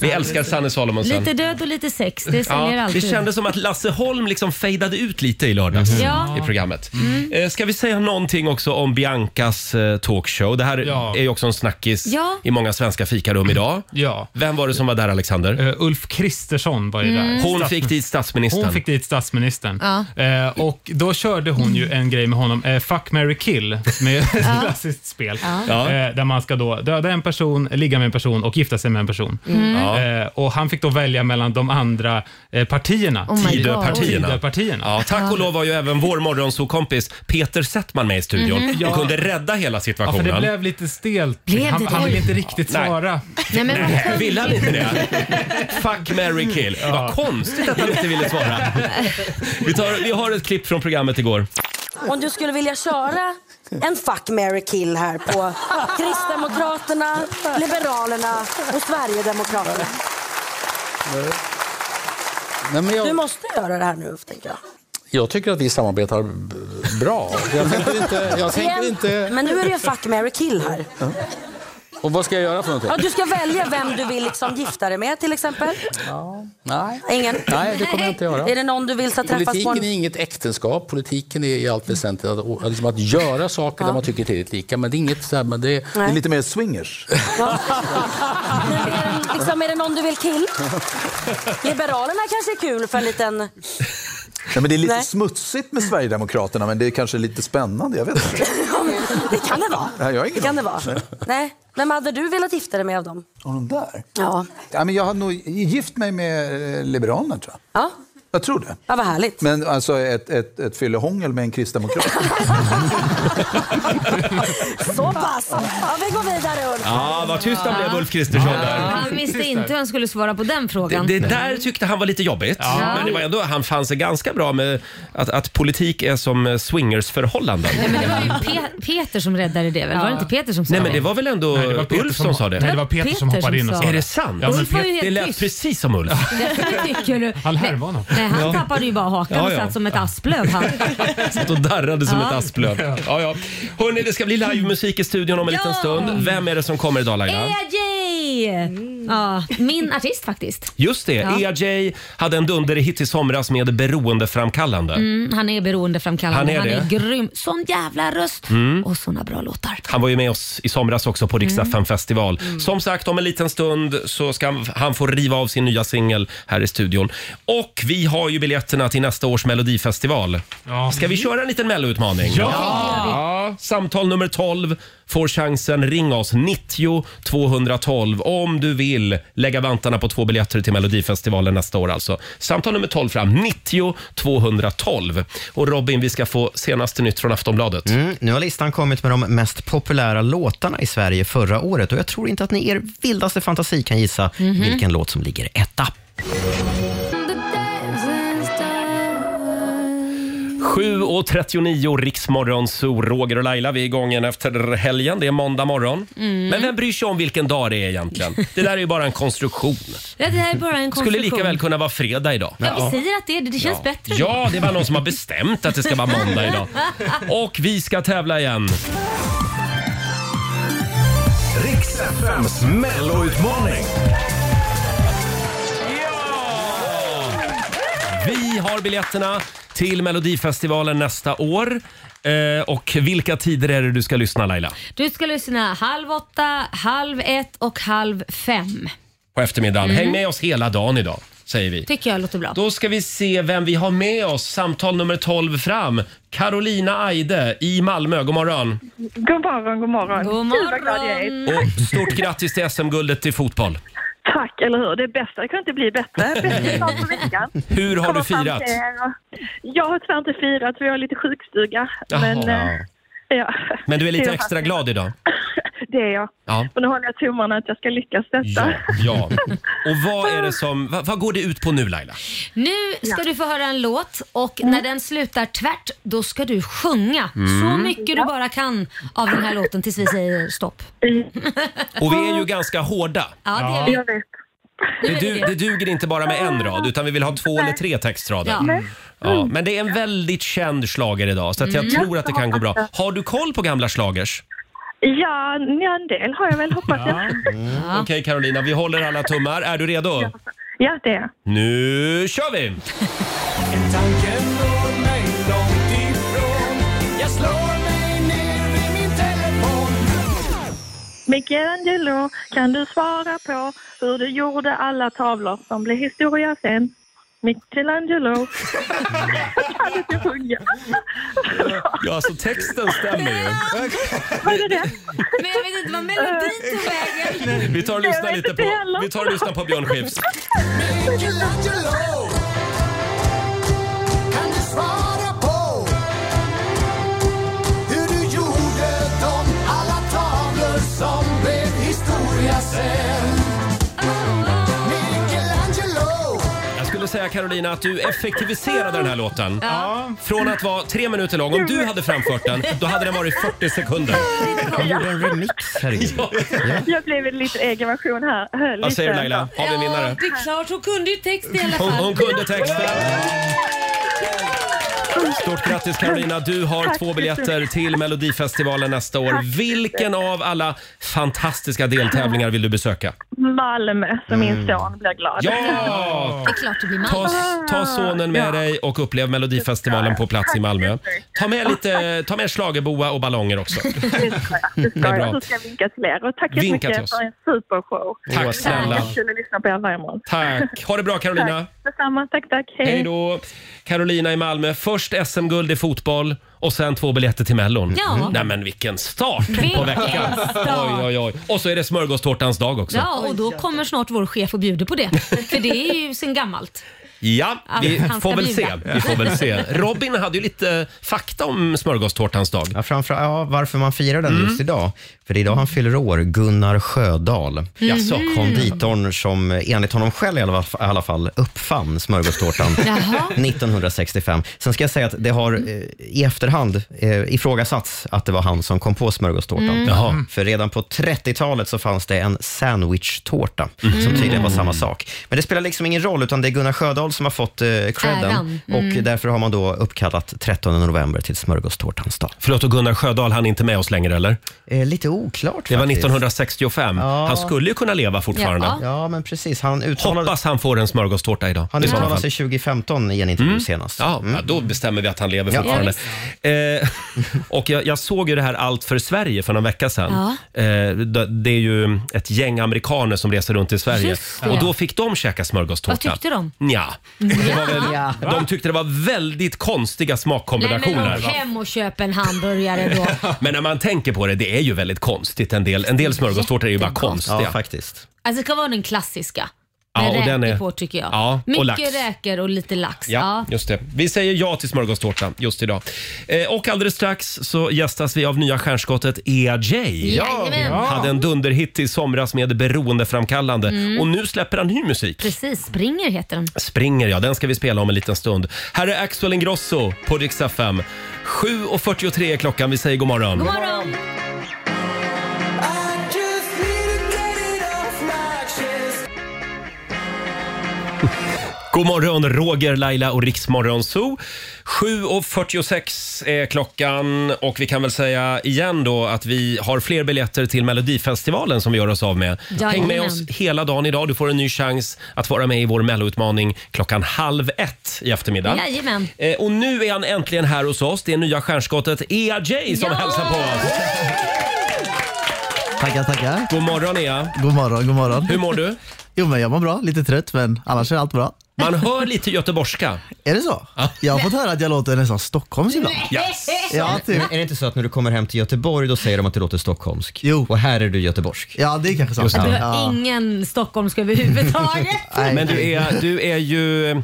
S1: Vi älskar Sanne Salomonsen.
S2: lite död och lite sex, det säljer
S1: det
S2: alltid.
S1: kändes som att Lasse Holm liksom fejdade ut lite i lördags
S2: Mm. Ja. Mm.
S1: i programmet. Eh, Ska vi säga någonting också om Biancas eh, talkshow? Det här är ju också en snackis
S2: Ja.
S1: i många svenska fikarum idag.
S6: Ja.
S1: Vem var det som var där Alexander?
S6: Eh, Ulf Kristersson var ju där.
S1: Mm. Hon fick dit statsministern.
S6: Hon fick dit statsministern.
S2: Ja.
S6: Eh, och då körde hon ju en grej med honom, eh, fuck, marry, kill, med ett klassiskt spel.
S11: Ja.
S6: Eh, där man ska då döda en person, ligga med en person och gifta sig med en person.
S11: Mm. Ja.
S6: Eh, och han fick då välja mellan de andra eh, partierna.
S1: Oh my God. Tidöpartierna.
S6: Tidöpartierna.
S1: Ja, tack och lov var ju även vår morgonsokompis Peter Settman med i studion
S6: Mhm.
S1: och
S6: Ja.
S1: kunde rädda hela
S6: Ja,
S1: situationen.
S6: för det blev lite stelt.
S1: Blev
S6: han
S1: det
S6: han
S1: det?
S6: ville inte riktigt
S1: Nej.
S6: svara.
S2: Nej, men vad
S1: Nej,
S2: töntigt.
S1: Ville han inte det? Fuck, marry, kill. Vad konstigt att han inte ville svara. Vi, tar, vi har ett klipp från programmet igår.
S7: Om du skulle vilja köra en fuck, marry, kill här på Kristdemokraterna, Liberalerna och Sverigedemokraterna.
S13: Nej, men
S7: Du
S13: jag,
S7: måste göra det här nu, tänker jag.
S13: jag tycker att vi samarbetar b- bra. Jag tänker inte... Jag tänker
S7: Igen.
S13: inte
S7: Men nu är det ju fuck, marry, kill här.
S13: Och vad ska jag göra för någonting?
S7: Ja, du ska välja vem du vill liksom gifta dig med till exempel.
S13: Nej.
S7: Ingen?
S13: Nej, det kommer jag inte göra.
S7: Är det någon du vill ska träffas på
S13: Politiken är
S7: en...
S13: inget äktenskap. Politiken är i allt väsentligt att, liksom att göra saker där man tycker tillräckligt lika. Men det är inget så här, men det,
S7: Nej. Det är
S13: lite mer swingers.
S7: Men är, det, liksom, är det någon du vill kill? Liberalerna kanske är kul för en liten...
S14: Nej, men det är lite
S7: Nej.
S14: smutsigt med Sverigedemokraterna, men det är kanske lite spännande. Jag vet inte.
S7: Det kan det vara.
S14: Nej, jag har ingen
S7: det kan det
S14: aning.
S7: vara. Nej. Vem hade du velat gifta dig med av dem?
S14: Och de där?
S7: Ja.
S14: Ja, men jag hade nog gift mig med eh, Liberalerna, tror jag.
S7: Ja.
S14: Jag tror det.
S7: Ja, vad härligt.
S14: Men alltså ett, ett, ett fyllehångel med en kristdemokrat.
S7: Så pass. Ja, vi går vidare Ulf.
S1: Ja, vad tyst han blev Ulf Kristersson där.
S2: Han visste inte hur han skulle svara på den
S1: Det,
S2: frågan.
S1: det där tyckte han var lite jobbigt.
S2: Ja.
S1: Men det var ändå, han fann sig ganska bra med att, att politik är som eh, swingersförhållanden.
S2: Nej, men det var ju Pe- Peter som räddade det väl? Var det inte Peter som sa
S1: Nej men det var väl ändå
S6: Nej, det var Peter
S1: Ulf
S6: som-
S1: som sa det?
S6: Nej, det var Peter som Peter hoppade in och som sa sa det.
S1: Är det sant?
S6: Ja, men Ulf
S2: var ju Pet- helt
S1: det lät
S2: tyst.
S1: precis som Ulf.
S2: Därför tycker du.
S1: Han härmade honom.
S2: Nej, han tappade ju bara hakan
S1: Ja,
S2: och
S1: ja.
S2: satt som ett asplöv. Han.
S1: Satt och darrade som
S2: Ja.
S1: ett asplöv. Ja, ja. Hörni, det ska bli livemusik i studion om en liten
S2: Ja.
S1: stund. Vem är det som kommer idag Laila?
S2: EJ! Ja, min artist faktiskt.
S1: Just det,
S2: Ja.
S1: ERJ hade en dunderhit i somras med beroendeframkallande.
S2: Mm, han är beroendeframkallande.
S1: Han är
S2: han är
S1: det.
S2: grym. Sån jävla röst.
S1: Mm.
S2: Och såna bra låtar.
S1: Han var ju med oss i somras också på Riksdag
S2: Mm.
S1: festival. Som sagt, om en liten stund så ska han- han få riva av sin nya singel här i studion. Och vi har ju biljetterna till nästa års melodifestival. Ska vi köra en liten melloutmaning?
S12: Ja!
S1: Ja, Samtal nummer 12 får chansen. Ring oss, 90 212, om du vill lägga vantarna på två biljetter till Melodifestivalen nästa år. Alltså. Samtal nummer 12 fram, 90 212. Och Robin, vi ska få senaste nytt från Aftonbladet.
S3: Mm, nu har listan kommit med de mest populära låtarna i Sverige förra året och jag tror inte att ni i er vildaste fantasi kan gissa
S12: Mhm.
S3: vilken låt som ligger etta.
S1: Sju och 39 Riksmorgon, så Roger och Laila, vi är igång igen efter helgen. Det är måndag morgon.
S2: Mm.
S1: Men vem bryr sig om vilken dag det är egentligen? Det där är ju bara en konstruktion.
S2: Det här är bara en konstruktion.
S1: Skulle lika väl kunna vara fredag idag.
S2: Ja, vi säger att det är det. Det känns bättre.
S1: Ja, det var någon som har bestämt att det ska vara måndag idag. Och vi ska tävla igen.
S12: Riks FMs melloutmaning.
S1: Vi har biljetterna till Melodifestivalen nästa år. Eh, och vilka tider är det du ska lyssna Laila?
S2: Du ska lyssna halv åtta, halv ett och halv fem.
S1: På eftermiddagen.
S2: Mm.
S1: Häng med oss hela dagen idag, säger vi.
S2: Tycker jag låter bra.
S1: Då ska vi se vem vi har med oss. Samtal nummer 12 fram. Carolina Aide i Malmö. God morgon.
S11: God morgon, god morgon.
S2: God
S11: Gud, vad glad jag är.
S1: Och stort grattis till SM-guldet i fotboll.
S11: Tack, eller hur? Det är bästa. Det kunde inte bli bättre. Bästa start på veckan.
S1: Hur har du
S11: Komma fram
S1: firat?
S11: till er och- Jag har tyvärr inte firat, för jag har lite sjukstuga.
S1: Jaha.
S11: Men, eh, ja.
S1: Men du är lite
S11: Det
S1: extra glad idag?
S11: Det är jag.
S1: Ja.
S11: Och nu håller jag tummarna att jag ska lyckas detta.
S1: Ja. Och vad är det som... Vad, vad går det ut på nu Laila?
S2: Nu ska du få höra en låt och när den slutar tvärt, då ska du sjunga
S1: Mm.
S2: så mycket du bara kan av den här låten tills vi säger stopp.
S1: Och vi är ju ganska hårda.
S2: Ja, det är vi.
S1: Det, du, det duger inte bara med en rad utan vi vill ha två eller tre textrader.
S2: Ja.
S1: Ja.
S2: Mm.
S1: men det är en väldigt känd slager idag så att jag
S11: Mm.
S1: tror att det kan gå bra. Har du koll på gamla slagers?
S11: Ja, ja, en del har jag väl, hoppas jag.
S1: Mm. Okej Carolina, vi håller alla tummar. Är du redo?
S11: Ja, det är jag.
S1: Nu kör vi!
S12: Tanken når mig långt ifrån. Jag slår mig ner vid min telefon.
S11: Michelangelo, kan du svara på hur du gjorde alla tavlor som blev historia sen? Michelangelo. Jag kan inte sjunga.
S1: Ja, alltså texten stämmer ju.
S11: Hörde det?
S2: Men jag vet inte vad melodin tog vägen.
S1: Vi tar och lyssnar lite på, vi tar och lyssnar på Björn Skifs.
S12: Michelangelo. Kan du svara på hur du gjorde dem alla tavlor som blev historia sen? Michelangelo.
S1: Jag skulle säga Carolina att du effektiviserade den här låten.
S12: Ja.
S1: Från att vara tre minuter lång, om du hade framfört den, då hade den varit 40 sekunder.
S3: Han gjorde en remix, herregud.
S11: Jag blev en liten egen version här. Hör
S1: Vad säger du
S11: lite.
S1: Laila? Har vi en vinnare?
S2: Det är klart, hon kunde ju texten i alla
S1: Hon,
S2: fall.
S1: hon kunde texten. Stort grattis Carolina, du har
S2: Tack
S1: två
S2: så
S1: biljetter till Melodifestivalen nästa år.
S11: Tack.
S1: Vilken av alla fantastiska deltävlingar vill du besöka?
S11: Malmö, så min son blir glad.
S1: Mm. Ja!
S2: Det är klart det blir
S1: Ta,
S2: Malmö.
S1: ta sonen med dig och upplev Melodifestivalen på plats i Malmö. Ta med lite, ta med schlagerboa och ballonger också.
S11: Det ska
S1: Det är bra.
S11: jag. Så ska jag vinka till er. Och tack så
S1: Vinka
S11: mycket
S1: till oss.
S11: för en supershow.
S1: Tack snälla.
S11: Kul att lyssna på er varje morgon.
S1: Tack! Ha det bra Carolina!
S11: Tack. Detsamma. Tack, tack. Hej.
S1: Hej då! Carolina i Malmö. Först SM-guld i fotboll och sen två biljetter till Mellon.
S2: Ja.
S1: Nej men vilken start på
S2: Vilken
S1: veckan!
S2: start.
S1: Oj, oj, oj. Och så är det smörgåstårtans dag också.
S2: Ja, och då kommer snart vår chef och bjuder på det. För det är ju sen gammalt.
S1: Ja,
S2: Att
S1: vi
S2: han ska
S1: får väl se.
S2: bjuda.
S1: Vi får väl se. Robin hade ju lite eh, fakta om smörgåstårtans dag.
S3: Ja, framför, ja, varför man firar den
S1: Mm.
S3: just idag. För det är idag han fyller år, Gunnar Sjödahl.
S1: Jaså. Mhm.
S3: Konditorn som eh, enligt honom själv i alla fall- i alla fall uppfann smörgåstårtan
S12: Jaha.
S3: 1965. Sen ska jag säga att det har eh, i efterhand eh, ifrågasatts att det var han som kom på smörgåstårtan.
S12: Mm. Jaha.
S3: För redan på 30-talet så fanns det en sandwich-tårta som
S1: Mm.
S12: Mhm.
S3: tydligen var samma sak. Men det spelar liksom ingen roll utan det är Gunnar Sjödahl som har fått eh,
S1: Äran.
S3: credden.
S1: Mm.
S3: Och därför har man då uppkallat 13 november till smörgåstårtans dag.
S1: Förlåt, och Gunnar Sjödahl, han är inte med oss längre eller?
S3: Eh, lite oklart
S1: Det var
S3: faktiskt.
S1: 1965.
S3: Ja.
S1: Han skulle ju kunna leva fortfarande.
S3: Ja, ja men precis. Han, uttalade,
S1: Hoppas han får en smörgåstårta idag.
S3: han
S1: i sådana
S3: uttalade
S1: fall. Mm.
S3: sig 2015 i en intervju senast. Mm.
S1: Ja, ja, då bestämmer vi att han lever
S3: Ja.
S1: fortfarande.
S3: Ja,
S1: Eh, och jag, jag såg ju det här Allt för Sverige för någon vecka sedan.
S12: Ja.
S1: Eh, det det är ju ett gäng amerikaner som reser runt i Sverige.
S2: Just det.
S1: Och då fick de käka smörgåstårta.
S2: Vad tyckte de?
S1: Nja. Det var väl,
S2: Ja.
S1: De tyckte det var väldigt konstiga smakkombinationer.
S2: Nej, men åk hem och köp en hamburgare då.
S1: Men när man tänker på det, det är ju väldigt konstigt. En del, en del smörgåstårtor är ju bara konstiga.
S3: Ja, faktiskt.
S2: Alltså det kan vara den klassiska.
S1: Ja,
S2: Med
S1: och
S2: räkor
S1: den är-
S2: på tycker jag.
S1: Ja, och
S2: Mycket
S1: lax.
S2: räkor och lite lax.
S1: Ja,
S2: Ja.
S1: just det. Vi säger ja till smörgåstårta just idag. Eh, och alldeles strax så gästas vi av nya stjärnskottet EJ.
S2: Jajamän. Ja.
S1: Hade en dunderhit i somras med beroendeframkallande
S2: Mm.
S1: och nu släpper han ny musik.
S2: Precis, Springer heter den.
S1: Springer, ja. Den ska vi spela om en liten stund. Här är Axel Ingrosso på Rix FM. 7.43 är klockan. Vi säger god morgon.
S12: God morgon.
S1: God morgon, Roger, Laila och Riksmorgon Zoo. 7.46 är klockan och vi kan väl säga igen då att vi har fler biljetter till Melodifestivalen som vi gör oss av med.
S12: Jajamän.
S1: Häng med oss hela dagen idag. Du får en ny chans att vara med i vår Melloutmaning klockan halv ett i eftermiddag.
S2: Jajamän.
S1: Eh, Och nu är han äntligen här hos oss. Det är nya stjärnskottet EAJ som hälsar på oss.
S15: Tackar, tackar.
S1: God morgon Ea.
S15: God morgon, god morgon.
S1: Hur mår du?
S15: Jo, men jag mår bra. Lite trött, men annars är allt bra.
S1: Man hör lite göteborgska.
S15: Är det så? Jag har fått höra att jag låter nästan Stockholms ibland. Ja, typ.
S3: Men Är det inte så att när du kommer hem till Göteborg då säger de att du låter stockholmsk?
S15: Jo.
S3: Och här är du göteborgsk?
S15: Ja, det är kanske sant.
S3: Just det.
S2: Du har ingen stockholmska överhuvudtaget.
S1: Men du är, du är ju...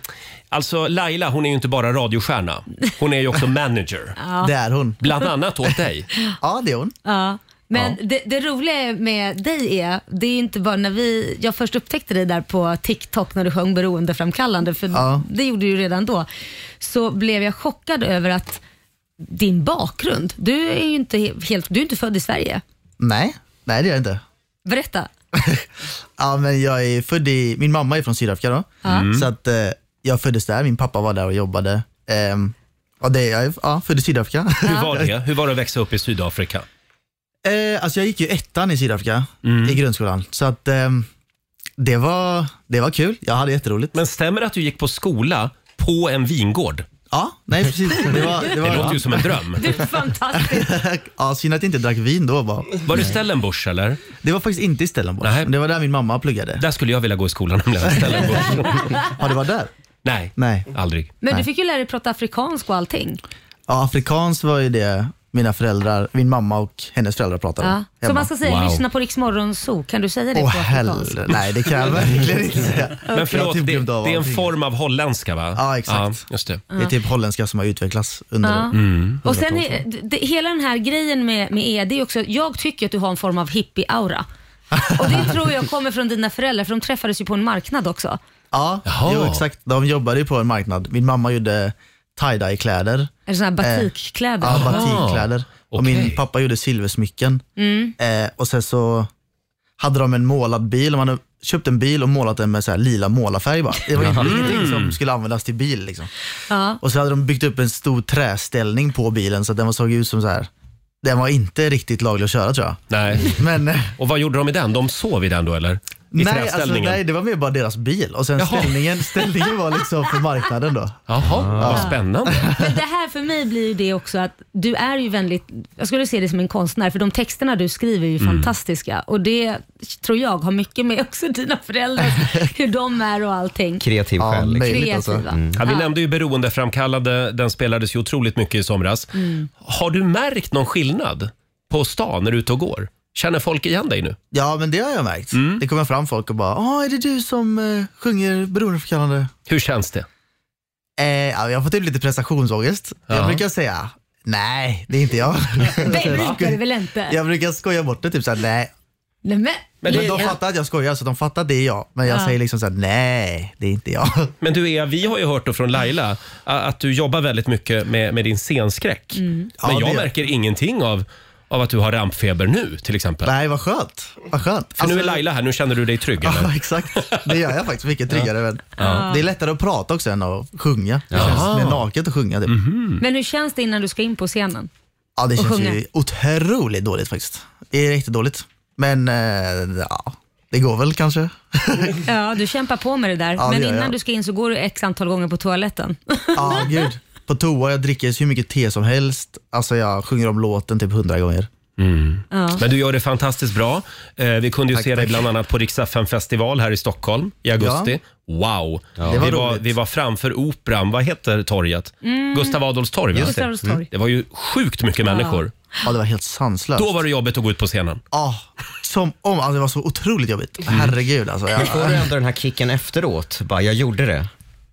S1: Alltså Laila hon är ju inte bara radiostjärna. Hon är ju också manager.
S2: Ja. Det är
S15: hon.
S1: Bland annat åt dig.
S15: Ja, det är hon.
S2: Ja. Men Det, det roliga med dig är, det är ju inte bara när vi, jag först upptäckte dig där på TikTok när du sjöng beroendeframkallande, för det gjorde du ju redan då, så blev jag chockad över att din bakgrund, du är ju inte he- helt, du är inte född i Sverige.
S15: Nej, nej det är jag inte.
S2: Berätta.
S15: Ja, men jag är född i, min mamma är från Sydafrika då.
S2: Ja. Mm.
S15: Så att eh, jag föddes där, min pappa var där och jobbade. Ehm, och det, jag är ja, född i Sydafrika.
S1: Hur var det? Hur var det att växa upp i Sydafrika?
S15: Eh, alltså jag gick ju ettan i Sydafrika
S1: Mm.
S15: i grundskolan. Så att ehm, det, var, det var kul. Jag hade jätteroligt.
S1: Men stämmer det att du gick på skola på en vingård?
S15: Ja, nej precis. Det, var,
S1: Det låter ju som en dröm.
S2: Du är fantastisk.
S15: ja, synd att jag inte drack vin då bara.
S1: Var det Stellenbosch eller?
S15: Det var faktiskt inte i Stellenbosch. men Det var där min mamma pluggade.
S1: Där skulle jag vilja gå i skolan nämligen. Stellenbosch.
S15: ja, det var där?
S1: Nej,
S15: Nej.
S1: aldrig.
S2: Men
S15: Nej.
S2: du fick ju lära dig prata afrikansk och allting.
S15: Ja, afrikanskt var ju det mina föräldrar, min mamma och hennes föräldrar pratade om
S2: Ja. Så
S15: hemma.
S2: man ska säga, lyssna på Rix Morgon Zoo, kan du säga det
S15: Åh
S2: på afrikansk?
S15: hell, nej det kan jag verkligen inte säga.
S1: Men förlåt, det,
S15: glömt av
S1: det är en
S15: allting.
S1: form av holländska va?
S15: Ja, exakt.
S1: Ja, just det.
S15: Det är typ holländska som har utvecklats under
S2: Ja.
S15: mm.
S2: Och sen är, det, hela den här grejen med, med er, det är också, jag tycker att du har en form av hippie-aura. Och det tror jag kommer från dina föräldrar, för de träffades ju på en marknad också.
S15: Ja, jo, exakt. De jobbade ju på en marknad. Min mamma gjorde tie-dye-kläder.
S2: Eller sådana här batikkläder.
S15: Eh, ja, batikkläder. Och min
S2: Okej.
S15: pappa gjorde silversmycken.
S2: Mm.
S15: Eh, och sen så hade de en målad bil. Man hade köpt en bil och målat den med så här lila målarfärg bara. Det var
S12: Jaha.
S15: mm. ingenting som
S12: Mm.
S15: skulle användas till bil. Liksom.
S2: Ja.
S15: Och så hade de byggt upp en stor träställning på bilen så att den var- såg ut som så här. Den var inte riktigt laglig att köra tror jag.
S1: Nej.
S15: Men, eh,
S1: Och vad gjorde de i den? De sov i den då eller? I
S15: Nej, alltså,
S1: träställningen?
S15: nej, det var mer bara deras bil och sen
S1: Jaha.
S15: ställningen, ställningen var liksom för marknaden då.
S1: Jaha,
S15: Ja.
S1: vad spännande.
S2: Men det här för mig blir ju det också att du är ju väldigt, jag skulle se dig som en konstnär, för de texterna du skriver är ju
S1: Mm.
S2: fantastiska. Och det tror jag har mycket med också dina föräldrar, hur de är och allting.
S3: Kreativ
S2: Ja,
S1: själ. liksom.
S2: möjligt Kreativa. alltså. Mm.
S1: Ja, vi
S2: Ja.
S1: nämnde ju beroendeframkallande. Den spelades ju otroligt mycket i somras.
S2: Mm.
S1: Har du märkt någon skillnad på stan när du är ute och går? Känner folk igen dig nu?
S15: Ja, men det har jag märkt.
S1: Mm.
S15: Det kommer fram folk och bara, ja, är det du som eh, sjunger beroendeframkallande?
S1: Hur känns det?
S15: Eh, ja, jag får typ lite prestationsångest.
S1: Ja.
S15: Jag brukar säga, nej, det är inte jag.
S2: Nej, men det är det väl inte?
S15: jag brukar skoja bort det, typ såhär, nej.
S2: Nej, men,
S15: Men,
S2: det-
S15: de fattar att jag skojar, så de fattar att det är jag. Men jag
S2: Ja.
S15: säger liksom såhär, nej, det är inte jag.
S1: Men du, Ea, vi har ju hört då från Laila a- att du jobbar väldigt mycket med, med din scenskräck.
S15: Mm.
S1: Men
S15: Ja,
S1: jag
S15: det-
S1: märker ingenting av, av att du har rampfeber nu, till exempel.
S15: Nej, vad skönt. Vad skönt. Alltså,
S1: För nu är Laila här, nu känner du dig trygg. eller?
S15: Ja, exakt. Det gör jag faktiskt. Mycket tryggare. väl.
S1: Ja.
S15: Det är lättare att prata också än att sjunga. Det
S1: Jaha.
S15: känns mer naket att sjunga. Typ.
S1: Mm. Mhm.
S2: men hur känns det innan du ska in på scenen?
S15: Ja, det
S2: Och
S15: känns
S2: sjunga.
S15: ju otroligt dåligt faktiskt. Det är riktigt dåligt. Men eh, ja, det går väl kanske.
S2: Ja, du kämpar på med det där.
S15: Ja, det
S2: men
S15: gör
S2: innan
S15: jag.
S2: du ska in så går du x antal gånger på toaletten.
S15: Ja, gud. På toa, jag dricker hur mycket te som helst. Alltså jag sjunger om låten typ hundra gånger.
S1: Mm.
S2: Ja.
S1: Men du gör det fantastiskt bra. Eh, vi kunde ju
S15: Tack,
S1: se dig
S15: tack.
S1: bland annat på Riksdagen festival här i Stockholm i augusti. Wow!
S15: Det var
S1: vi, var,
S15: roligt.
S1: vi var framför Operan, vad heter torget?
S2: Mm.
S1: Gustav Adolfs torg. va? Mm.
S15: Just det. Gustav Adolfs torg.
S1: Det var ju sjukt mycket människor.
S15: Ja, det var helt sanslöst.
S1: Då var det jobbigt att gå ut på scenen.
S15: Ja, som om. Alltså, det var så otroligt jobbigt.
S1: Mm.
S15: Herregud alltså.
S3: Men
S15: Jag,
S3: Mm. får du ändå den här kicken efteråt? Bara, jag gjorde det.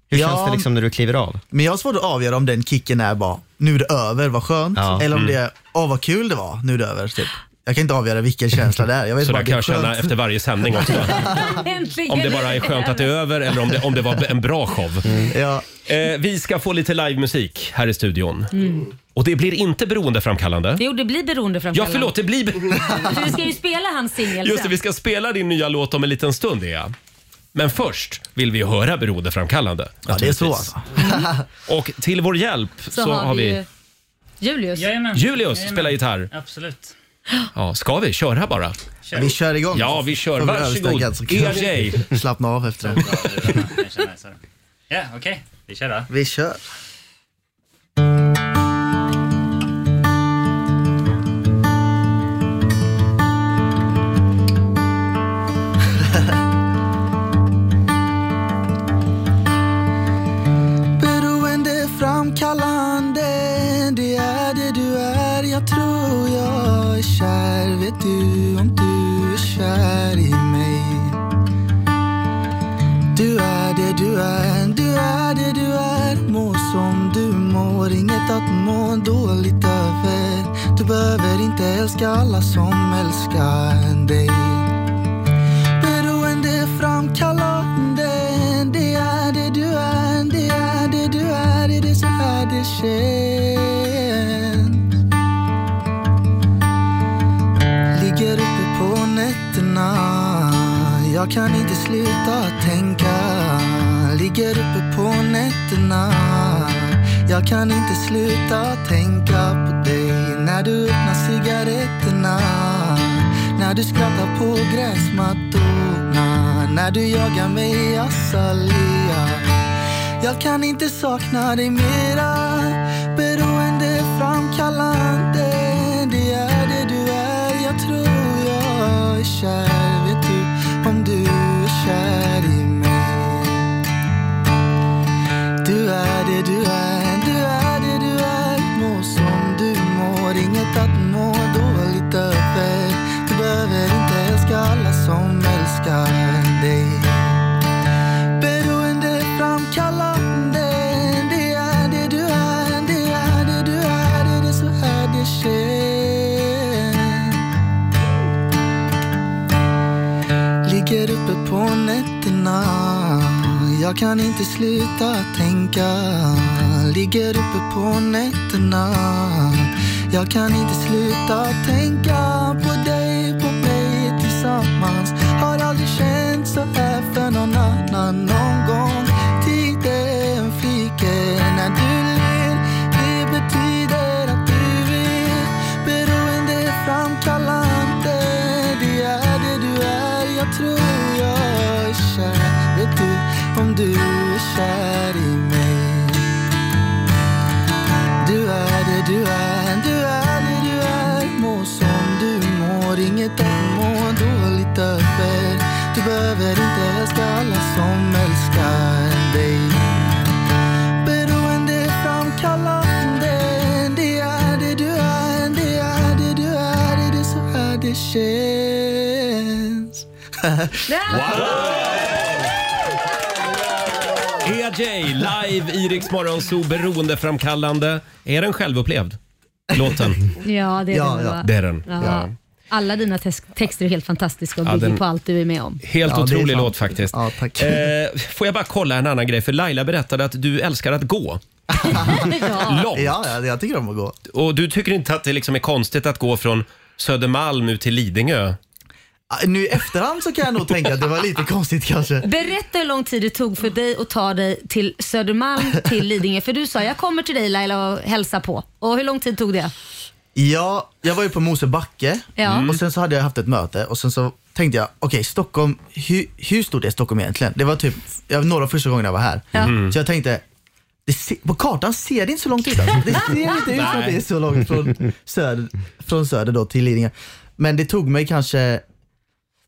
S3: Hur
S15: Ja,
S3: känns det liksom när du kliver av?
S15: Men jag har svårt att avgöra om den kicken är bara, nu är det över, vad skönt.
S3: Ja.
S15: Eller om
S3: Mm.
S15: det är, åh vad kul det var, nu är det över. Typ. Jag kan inte avgöra vilken känsla det är. Jag vet
S1: Så
S15: bara,
S1: där kan jag
S15: det är
S1: känna
S15: skönt.
S1: efter varje sändning också.
S2: Äntligen.
S1: Om det bara är skönt att det är över eller om det, om det var en bra show.
S15: Mm, Ja.
S1: Eh, vi ska få lite livemusik här i studion.
S2: Mm.
S1: Och det blir inte beroendeframkallande.
S2: Jo, det blir beroendeframkallande.
S1: Äh? Ja, förlåt, det blir...
S2: För vi ska ju spela hans singel
S1: Just det,
S2: sen.
S1: vi ska spela din nya låt om en liten stund, Ea. Men först vill vi höra beroendeframkallande.
S15: Ja, det är så, alltså.
S1: naturligtvis.
S2: Mm.
S1: Och till vår hjälp så, har vi...
S2: ju Julius.
S1: Julius spelar gitarr.
S16: Absolut.
S1: Ja, ska vi köra bara?
S15: Ja, vi kör igång.
S1: Ja, vi kör.
S15: Får vi
S1: Varsågod. E
S15: överstökat, så kan
S1: EJ.
S15: vi Slappna av efter det.
S16: Ja, okej. Vi kör då.
S15: Vi kör.
S12: Beroendeframkallande, det är det du är. Jag tror jag är kär. Vet du om du är kär i mig? Du är det du är, du är det du är. Må som du mår, inget att må dåligt över. Du behöver inte älska alla som älskar dig. Beroendeframkallande Det är det du är, det är det du är Är det så här det känns? Ligger uppe på nätterna Jag kan inte sluta tänka Ligger uppe på nätterna Jag kan inte sluta tänka på dig När du öppnar cigaretterna när du skrattar på gräsmattorna När du jagar mig i azalea Jag kan inte sakna dig mera Beroendeframkallande Det är det du är Jag tror jag är kär Vet du om du är kär i mig du är det du är, du är det du är Må som du mår, inget att må dåligt över Du behöver inte älska alla som älskar dig Beroendeframkallande Det är det du är, det är det du är Är det så här det känns? Ligger uppe på nätterna Jag kan inte sluta tänka Ligger uppe på nätterna Jag kan inte sluta tänka på dig, på mig tillsammans Har aldrig känt så här för någon annan någon gång Tiden flyger när du ler Det betyder att du vill Beroendeframkallande Det är det du är Jag tror jag är kär Vet du om du är kär i mig Du är det du är Du är det du är Må som du mår Inget att må dåligt över
S1: EJ E live i Rix Morgon Zoo beroendeframkallande. Är den självupplevd? Låten?
S2: Ja, det är den. va?
S1: Det är den.
S2: Ja. Alla dina tex- texter är helt fantastiska och
S1: Ja,
S2: bygger
S1: den-
S2: på allt du är med om.
S1: Helt otrolig låt faktiskt. Eh, får jag bara kolla en annan grej? För Laila berättade att du älskar att gå. Långt.
S15: Ja, ja, jag tycker om att gå.
S1: Och du tycker inte att det liksom är konstigt att gå från Södermalm ut till Lidingö?
S15: Ah, Nu i efterhand så kan jag nog tänka att det var lite konstigt kanske.
S2: Berätta hur lång tid det tog för dig att ta dig till Södermalm, till Lidingö. För du sa, jag kommer till dig Laila och hälsa på. Och hur lång tid tog det?
S15: Ja, jag var ju på Mosebacke Mm.
S2: Ja.
S15: och sen så hade jag haft ett möte och sen så tänkte jag, okej Stockholm, hur, hur stort är Stockholm egentligen? Det var typ jag, några av första gångerna jag var här. Mm.
S12: Mhm.
S15: Så jag tänkte, det se, på kartan ser det inte så långt ut. Alltså. Det ser inte ut som att det är så långt från söder, från söder då till Lidingö. Men det tog mig kanske,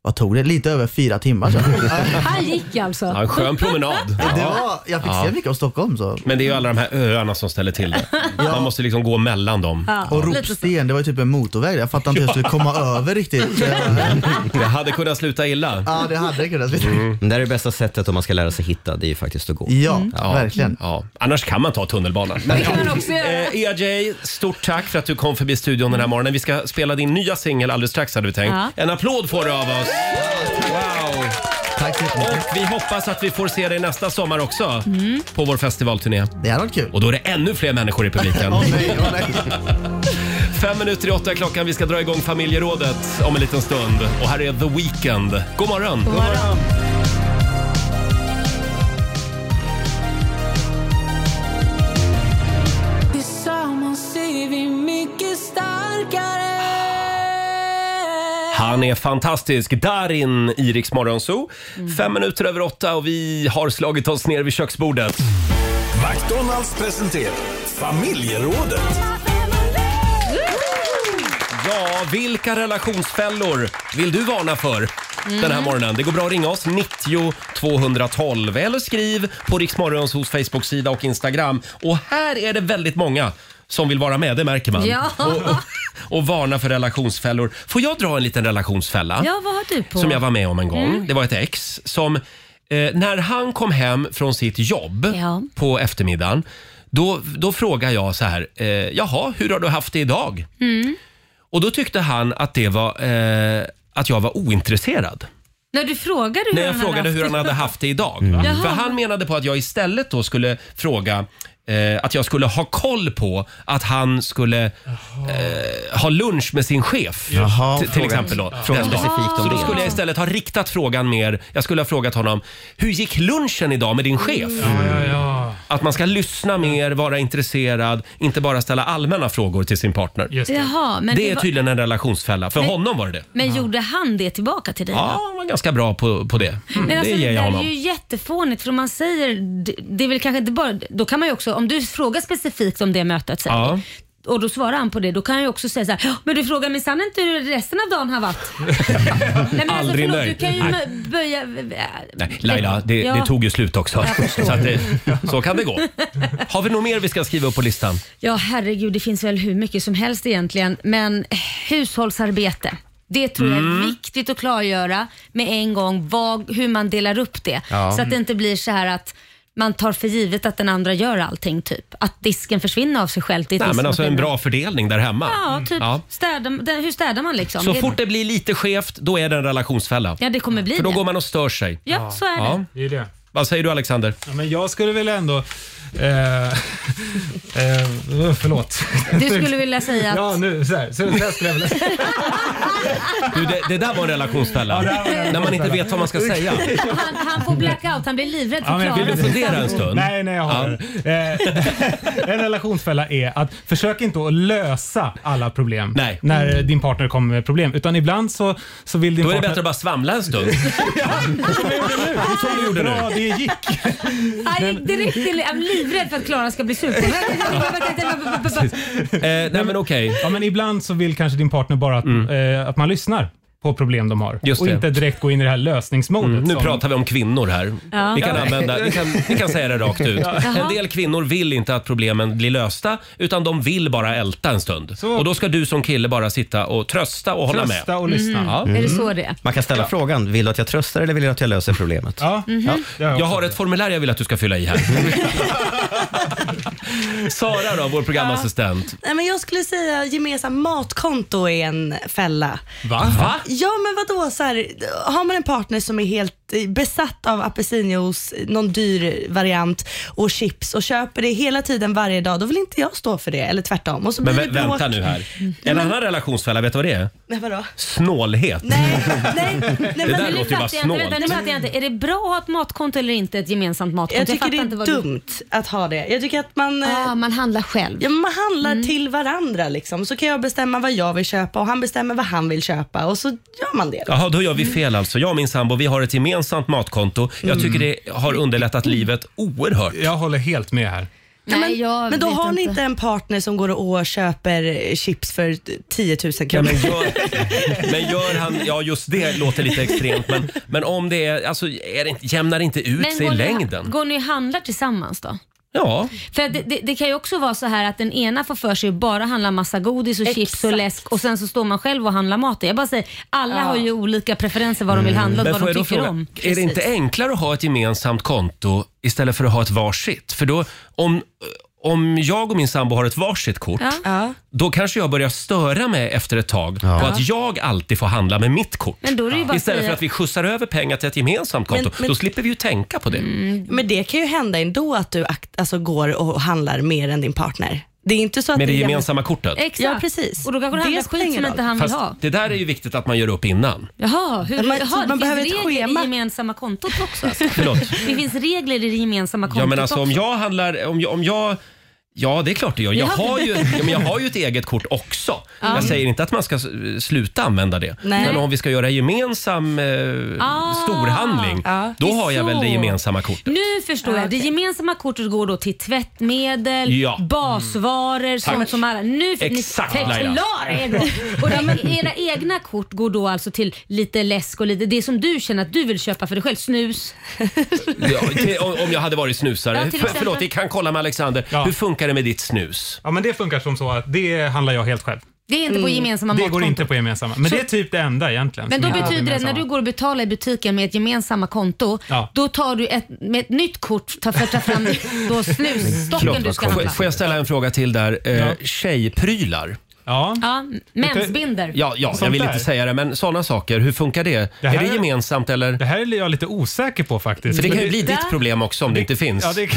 S15: vad tog det? Lite över fyra timmar. tror jag.
S2: Här gick alltså.
S1: Ja, en skön promenad.
S15: Det var, jag fick se mycket av Stockholm. Så.
S1: Men det är ju alla de här öarna som ställer till det. Man måste liksom gå mellan dem.
S15: Ja, och Ropsten, det var ju typ en motorväg. Jag fattar inte hur jag skulle komma över riktigt. Så jag-
S1: Det hade kunnat sluta illa.
S15: Ja, det hade kunnat bli.
S3: Mm. Det här är det bästa sättet om man ska lära sig hitta, det är ju faktiskt att gå.
S15: Ja, Mm. verkligen.
S1: Ja. Annars kan man ta tunnelbanan.
S3: Det kan
S2: man också göra.
S1: Eh, ERJ, stort tack för att du kom förbi studion den här morgonen. Vi ska spela din nya singel alldeles strax hade vi tänkt.
S12: Ja.
S1: En applåd får du av oss. Wow! Och vi hoppas att vi får se dig nästa sommar också
S12: Mm.
S1: på vår festivalturné.
S15: Det hade varit kul.
S1: Och då är det ännu fler människor i publiken. Fem minuter i åtta är klockan. Vi ska dra igång familjerådet om en liten stund. Och här är The Weeknd. God morgon! God morgon.
S12: Tillsammans är vi mycket starkare
S1: Han är fantastisk. Darin i Rix Morgon Zoo.
S2: Mm.
S1: Fem minuter över åtta och vi har slagit oss ner vid köksbordet.
S12: McDonalds presenterar Familjerådet.
S1: Ja, vilka relationsfällor vill du varna för den här
S12: Mm.
S1: morgonen? Det går bra att ringa oss, 90 212 eller skriv på Rix Morgons hos Facebook-sida och Instagram. Och här är det väldigt många som vill vara med, det märker man.
S2: Ja.
S1: Och, och, och varna för relationsfällor. Får jag dra en liten relationsfälla?
S2: Ja, vad har du på?
S1: som jag var med om en gång.
S2: Mm.
S1: Det var ett ex som, eh, när han kom hem från sitt jobb på eftermiddagen, då, då frågade jag så här, eh, jaha, hur har du haft det idag?
S2: Mm.
S1: Och då tyckte han att det var, eh, att jag var ointresserad.
S2: När du frågade hur
S1: När jag
S2: han hade
S1: frågade
S2: haft
S1: hur han
S2: det.
S1: hade haft det idag.
S2: Mm. Jaha.
S1: För han menade på att jag istället då skulle fråga eh, att jag skulle ha koll på att han skulle eh, ha lunch med sin chef.
S3: Jaha,
S1: t- till
S3: fråga-
S1: exempel då.
S3: fråga
S1: Den dagen.
S3: specifikt om
S1: Så då
S3: det.
S1: skulle jag istället ha riktat frågan mer. Jag skulle ha frågat honom, hur gick lunchen idag med din chef? Att man ska lyssna mer, vara intresserad, inte bara ställa allmänna frågor till sin partner.
S2: det. Jaha, men
S1: det
S2: det
S1: är
S2: var-
S1: tydligen en relationsfälla. För
S2: Men-
S1: honom var det det.
S2: Men gjorde han det tillbaka till dig? då?
S1: Ja, han var ganska bra på, på det. Mm.
S2: Men
S1: det
S2: alltså,
S1: ger
S2: det
S1: jag
S2: där
S1: honom.
S2: är ju jättefånigt för om man säger, det- det är väl kanske inte bara, då kan man ju också, om du frågar specifikt om det mötet sen,
S1: Ja.
S2: och då svarar han på det, då kan jag ju också säga så här, "Ja, men du frågar minsann inte hur resten av dagen har varit. Nej, men alltså,
S1: Aldrig
S2: förlåt,
S1: nöjd.
S2: Du kan ju
S1: Nej.
S2: mö- böja...
S1: Nej, Laila, det,
S2: Ja.
S1: det tog ju slut också.
S2: Jag förstår.
S1: Så, att det, så kan det gå. Har vi något mer vi ska skriva upp på listan?
S2: Ja, herregud, det finns väl hur mycket som helst egentligen. Men eh, hushållsarbete. Det tror jag är
S12: Mm.
S2: viktigt att klargöra med en gång vad, hur man delar upp det.
S12: Ja.
S2: Så att det inte blir så här att man tar för givet att den andra gör allting. typ. Att disken försvinner av sig själv. Det är
S1: Nej, men alltså en
S2: diskmaskinen.
S1: bra fördelning där hemma.
S2: Ja, typ.
S1: Ja.
S2: Städa, den, hur städar man liksom?
S1: Så
S2: Det-
S1: fort det blir lite skevt, då är det en relationsfälla.
S2: Ja, det kommer bli
S1: För då
S2: det.
S1: går man och stör sig.
S2: Ja, så är det.
S6: Det är det.
S1: Vad säger du Alexander?
S6: Ja, men jag skulle vilja ändå... Eh, eh, förlåt.
S2: Du skulle vilja säga att-
S6: Ja, nu så här. Så, så här skulle jag vilja
S1: Du, det, det där var en relationsfälla. När man inte vet vad man ska säga.
S2: Han, han får blackout, han blir livrädd för
S6: Ja, men jag
S2: Klara.
S6: vill inte-
S1: fundera en stund?
S6: Nej, nej, jag har det. Eh, En relationsfälla är att försök inte att lösa alla problem när din partner kommer med problem. Utan ibland så, så vill din
S1: Då är det
S6: partner...
S1: bättre att bara svamla en stund.
S6: Som
S1: du gjorde
S6: Bra,
S1: nu.
S6: det gick.
S2: Han gick direkt till, jag är livrädd för att Klara ska bli sur på mig.
S6: nej men
S1: okej.
S6: Ja men ibland så vill kanske din partner bara att, eh, att man lyssnar. på problem de har.
S1: Mm. Just
S6: och
S1: det.
S6: inte direkt gå in i det här lösningsmodet.
S1: Mm, nu
S6: som-
S1: pratar vi om kvinnor här.
S6: Ja.
S1: Vi, kan
S6: Ja.
S1: använda, vi, kan, vi kan säga det rakt ut.
S6: Ja. Jaha.
S1: En del kvinnor vill inte att problemen blir lösta utan de vill bara älta en stund. Och då ska du som kille bara sitta och trösta och hålla med.
S6: Trösta och
S3: lyssna.
S1: Ja.
S2: Mm. Är det så det är?
S3: Man kan ställa frågan, vill du att jag tröstar eller vill du att jag löser problemet?
S6: Ja.
S1: Jag har ett formulär jag vill att du ska fylla i här. Sara då, vår programassistent.
S8: Nej, men jag skulle säga gemensam matkonto är en fälla.
S1: Va? Va?
S8: Ja men vadå, så här, har man en partner som är helt eh, besatt av apelsinjuice, någon dyr variant och chips och köper det hela tiden varje dag, då vill inte jag stå för det. Eller tvärtom. Och så
S1: Men
S8: blir
S1: vä-
S8: det bråk.
S1: vänta nu här. En annan relationsfälla, vet du vad det är?
S8: Nej, vadå?
S1: Snålhet. Nej,
S8: nej,
S1: det där låter ju bara snålt.
S2: Vänta, nu fattar jag inte. Är det bra att ha ett matkonto eller inte ett gemensamt matkonto?
S8: Jag tycker
S2: fattar
S8: det
S2: inte
S8: är
S2: vad du-
S8: dumt att ha det. Jag tycker att man... eh,
S2: Ah, man handlar själv. Mm.
S8: Ja, men man handlar till varandra liksom. Så kan jag bestämma vad jag vill köpa och han bestämmer vad han vill köpa och så gör man det.
S1: Jaha, då gör vi fel alltså. Jag och min sambo vi har ett gemensamt matkonto. Jag tycker det har underlättat livet oerhört.
S6: Mm. Jag håller helt med här.
S8: Nej, men,
S2: jag
S8: men då
S2: vet
S8: har ni
S2: inte.
S8: inte en partner som går och köper eh, chips för 10 000 kronor.
S1: Ja, men, gör, men gör han... Ja, just det låter lite extremt. Men, men om det är... Alltså, är det, inte- jämnar det inte ut sig i
S2: går ni-
S1: längden?
S2: Går ni och handlar tillsammans då?
S1: Ja.
S2: För att det, det, det kan ju också vara så här att den ena får för sig att bara handla massa godis och chips och läsk och sen så står man själv och handlar maten. Jag bara säger, alla har ju olika preferenser vad de vill handla och
S1: Men
S2: vad
S1: får
S2: de
S1: jag då
S2: tycker
S1: fråga,
S2: om.
S1: Är det inte enklare att ha ett gemensamt konto istället för att ha ett varsitt? För då, om, om jag och min sambo har ett varsitt kort,
S2: Ja.
S1: då kanske jag börjar störa mig efter ett tag på att jag alltid får handla med mitt kort.
S8: Men då är det ju bara att
S1: istället för
S8: säga-
S1: att vi skjutsar över pengar till ett gemensamt konto.
S8: Men- men- Mm.
S1: Då slipper vi ju tänka på det.
S8: Men det kan ju hända ändå att du akt- alltså, går och handlar mer än din partner. Det är inte så att
S1: Med det
S8: är jämnt-
S1: gemensamma kortet.
S2: Exakt.
S8: Ja, precis.
S2: Och då kanske du handlar skit
S8: spelar ingen
S2: som
S8: roll.
S2: inte han vill
S1: Fast
S2: ha.
S1: det där är ju viktigt att man gör upp innan.
S2: Jaha, hur,
S8: Man-
S2: jaha,
S8: man
S2: det
S8: behöver
S2: finns
S8: ett
S2: regler i gemensamma kontot också? Alltså.
S1: Förlåt.
S2: Det finns regler i det gemensamma kontot
S1: Ja men alltså
S2: också.
S1: om jag handlar, om jag, om jag Ja, det är klart det gör. Jag,
S2: Ja.
S1: har ju, ja, men jag har ju ett eget kort också.
S2: Ja.
S1: Jag säger inte att man ska s- sluta använda det.
S2: Nej.
S1: Men om vi ska göra en gemensam eh,
S2: Ah.
S1: storhandling,
S2: Ja.
S1: då
S2: Det är
S1: har jag väl
S2: så.
S1: det gemensamma kortet.
S2: Nu förstår jag. Det gemensamma kortet går då till tvättmedel,
S1: Ja. Mm.
S2: basvaror, sånt som alla... Nu
S1: Exakt,
S2: ni
S1: Laila.
S2: förklarar er då. Och de, era egna kort går då alltså till lite läsk och lite det som du känner att du vill köpa för dig själv. Snus.
S1: Ja, till, om om jag hade varit snusare.
S2: Ja, till
S1: För,
S2: exempel.
S1: förlåt, vi kan kolla med Alexander. Hur funkar det med ditt snus?
S6: Ja, men det funkar som så att det handlar jag helt själv.
S2: Det är inte
S1: Mm.
S2: på gemensamma
S6: Det går
S2: matkonto.
S6: inte på gemensamma. Men
S2: Så-
S6: det är typ det enda egentligen. som
S2: Men då
S6: inte går på
S2: betyder det när
S6: gemensamma.
S2: du går och betalar i butiken med ett gemensamma konto,
S6: Ja.
S2: då tar du ett, med ett nytt kort tar, för att ta fram då snusstocken du ska
S1: Får,
S2: handla.
S1: får jag ställa en fråga till där? Eh, Tjejprylar.
S6: Ja.
S2: Ja, mensbinder.
S1: Ja, ja jag vill
S6: där.
S1: inte säga det, men sådana saker. Hur funkar det?
S6: här-
S1: är det gemensamt eller? Det
S6: här är jag lite osäker på faktiskt.
S1: För det kan
S6: Men
S1: ju bli ditt problem också om det inte finns.
S6: Ja, det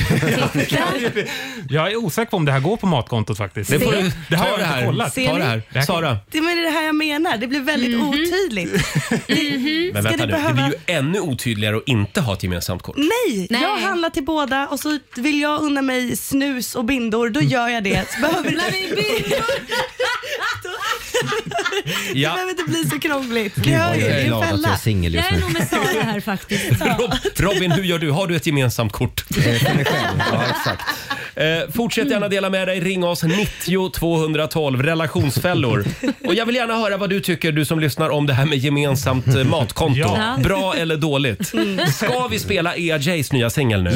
S6: Jag är osäker på om det här går på matkontot faktiskt.
S1: Det får du-
S6: har
S1: ta
S6: jag inte
S1: det här.
S6: kollat.
S1: Ta det här.
S6: kan-
S1: Sara.
S8: Det men det är det här jag menar. Det blir väldigt otydligt. mm
S1: Men vänta nu, det blir ju ännu otydligare att inte ha ett gemensamt kort.
S8: Nej, jag handlar till båda och så vill jag unna mig snus och bindor, då
S1: Mm.
S8: gör jag det. Så behöver
S2: Unna dig bindor!
S8: det
S1: Ja.
S8: behöver inte bli så krångligt.
S1: Gud,
S8: Det hör
S1: vad
S8: ju,
S1: jag är
S8: det är
S1: glad
S8: en
S1: att jag
S8: fälla.
S1: är singel just Jag är nu. nog
S2: med Sara här faktiskt.
S1: Robin, hur gör du? Har du ett gemensamt kort? ja, exakt. Eh, fortsätt gärna dela med dig. Ring oss 90 212 relationsfällor. Och jag vill gärna höra vad du tycker, du som lyssnar, om det här med gemensamt eh, matkonto.
S2: Ja.
S1: Bra eller dåligt? Ska vi spela EAJs nya singel nu?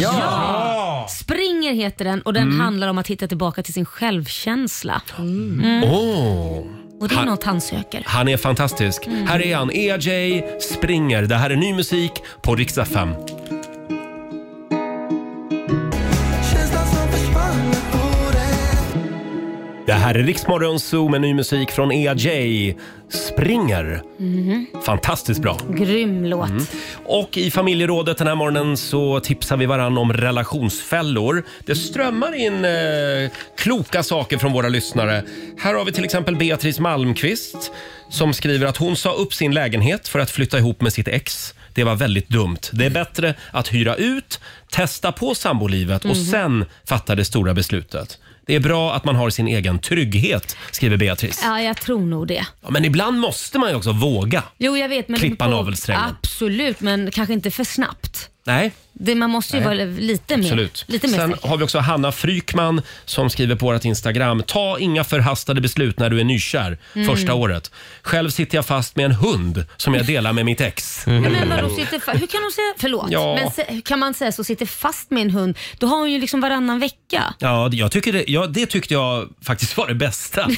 S2: Springer heter den och den
S1: Mm.
S2: handlar om att hitta tillbaka till sin självkänsla. Mm.
S1: Åh.
S2: Och det
S1: Mm.
S2: är
S1: Han-
S2: något han söker.
S1: Han är fantastisk.
S2: Mm.
S1: Här är han, EJ Springer. Det här är ny musik på riksdag 5. Det här är Riksmorgon Zoo med ny musik från EJ Springer.
S2: Mhm.
S1: Fantastiskt bra.
S2: Grym låt.
S1: Mm. Och i familjerådet den här morgonen så tipsar vi varann om relationsfällor. Det strömmar in eh, kloka saker från våra lyssnare. Här har vi till exempel Beatrice Malmqvist som skriver att hon sa upp sin lägenhet för att flytta ihop med sitt ex. Det var väldigt dumt. Det är bättre att hyra ut, testa på sambolivet och
S9: Mhm.
S2: Mm-hmm.
S1: sen fatta det stora beslutet. Det är bra att man har sin egen trygghet, skriver Beatrice.
S2: Ja, jag tror nog det.
S1: Ja, men ibland måste man ju också våga.
S2: Jo, jag vet. Men
S1: Klippa
S2: på-
S1: navelsträngen.
S2: Absolut, men kanske inte för snabbt.
S1: Nej.
S2: Det, man måste ju
S1: Nej.
S2: vara lite mer,
S1: Absolut.
S2: Mm. lite mer
S1: Sen
S2: säker.
S1: har vi också Hanna Frykman som skriver på vårt Instagram. Ta inga förhastade beslut när du är nykär
S2: Mm.
S1: första året. Själv sitter jag fast med en hund som jag delar med mitt ex.
S2: Nej, men vadå, sitter fa- hur kan hon säga, förlåt,
S1: Mm. Ja.
S2: men se- kan man säga så, sitter fast med en hund, då har hon ju liksom varannan vecka.
S1: Ja, det- jag tycker det, ja, det tyckte jag faktiskt var det bästa.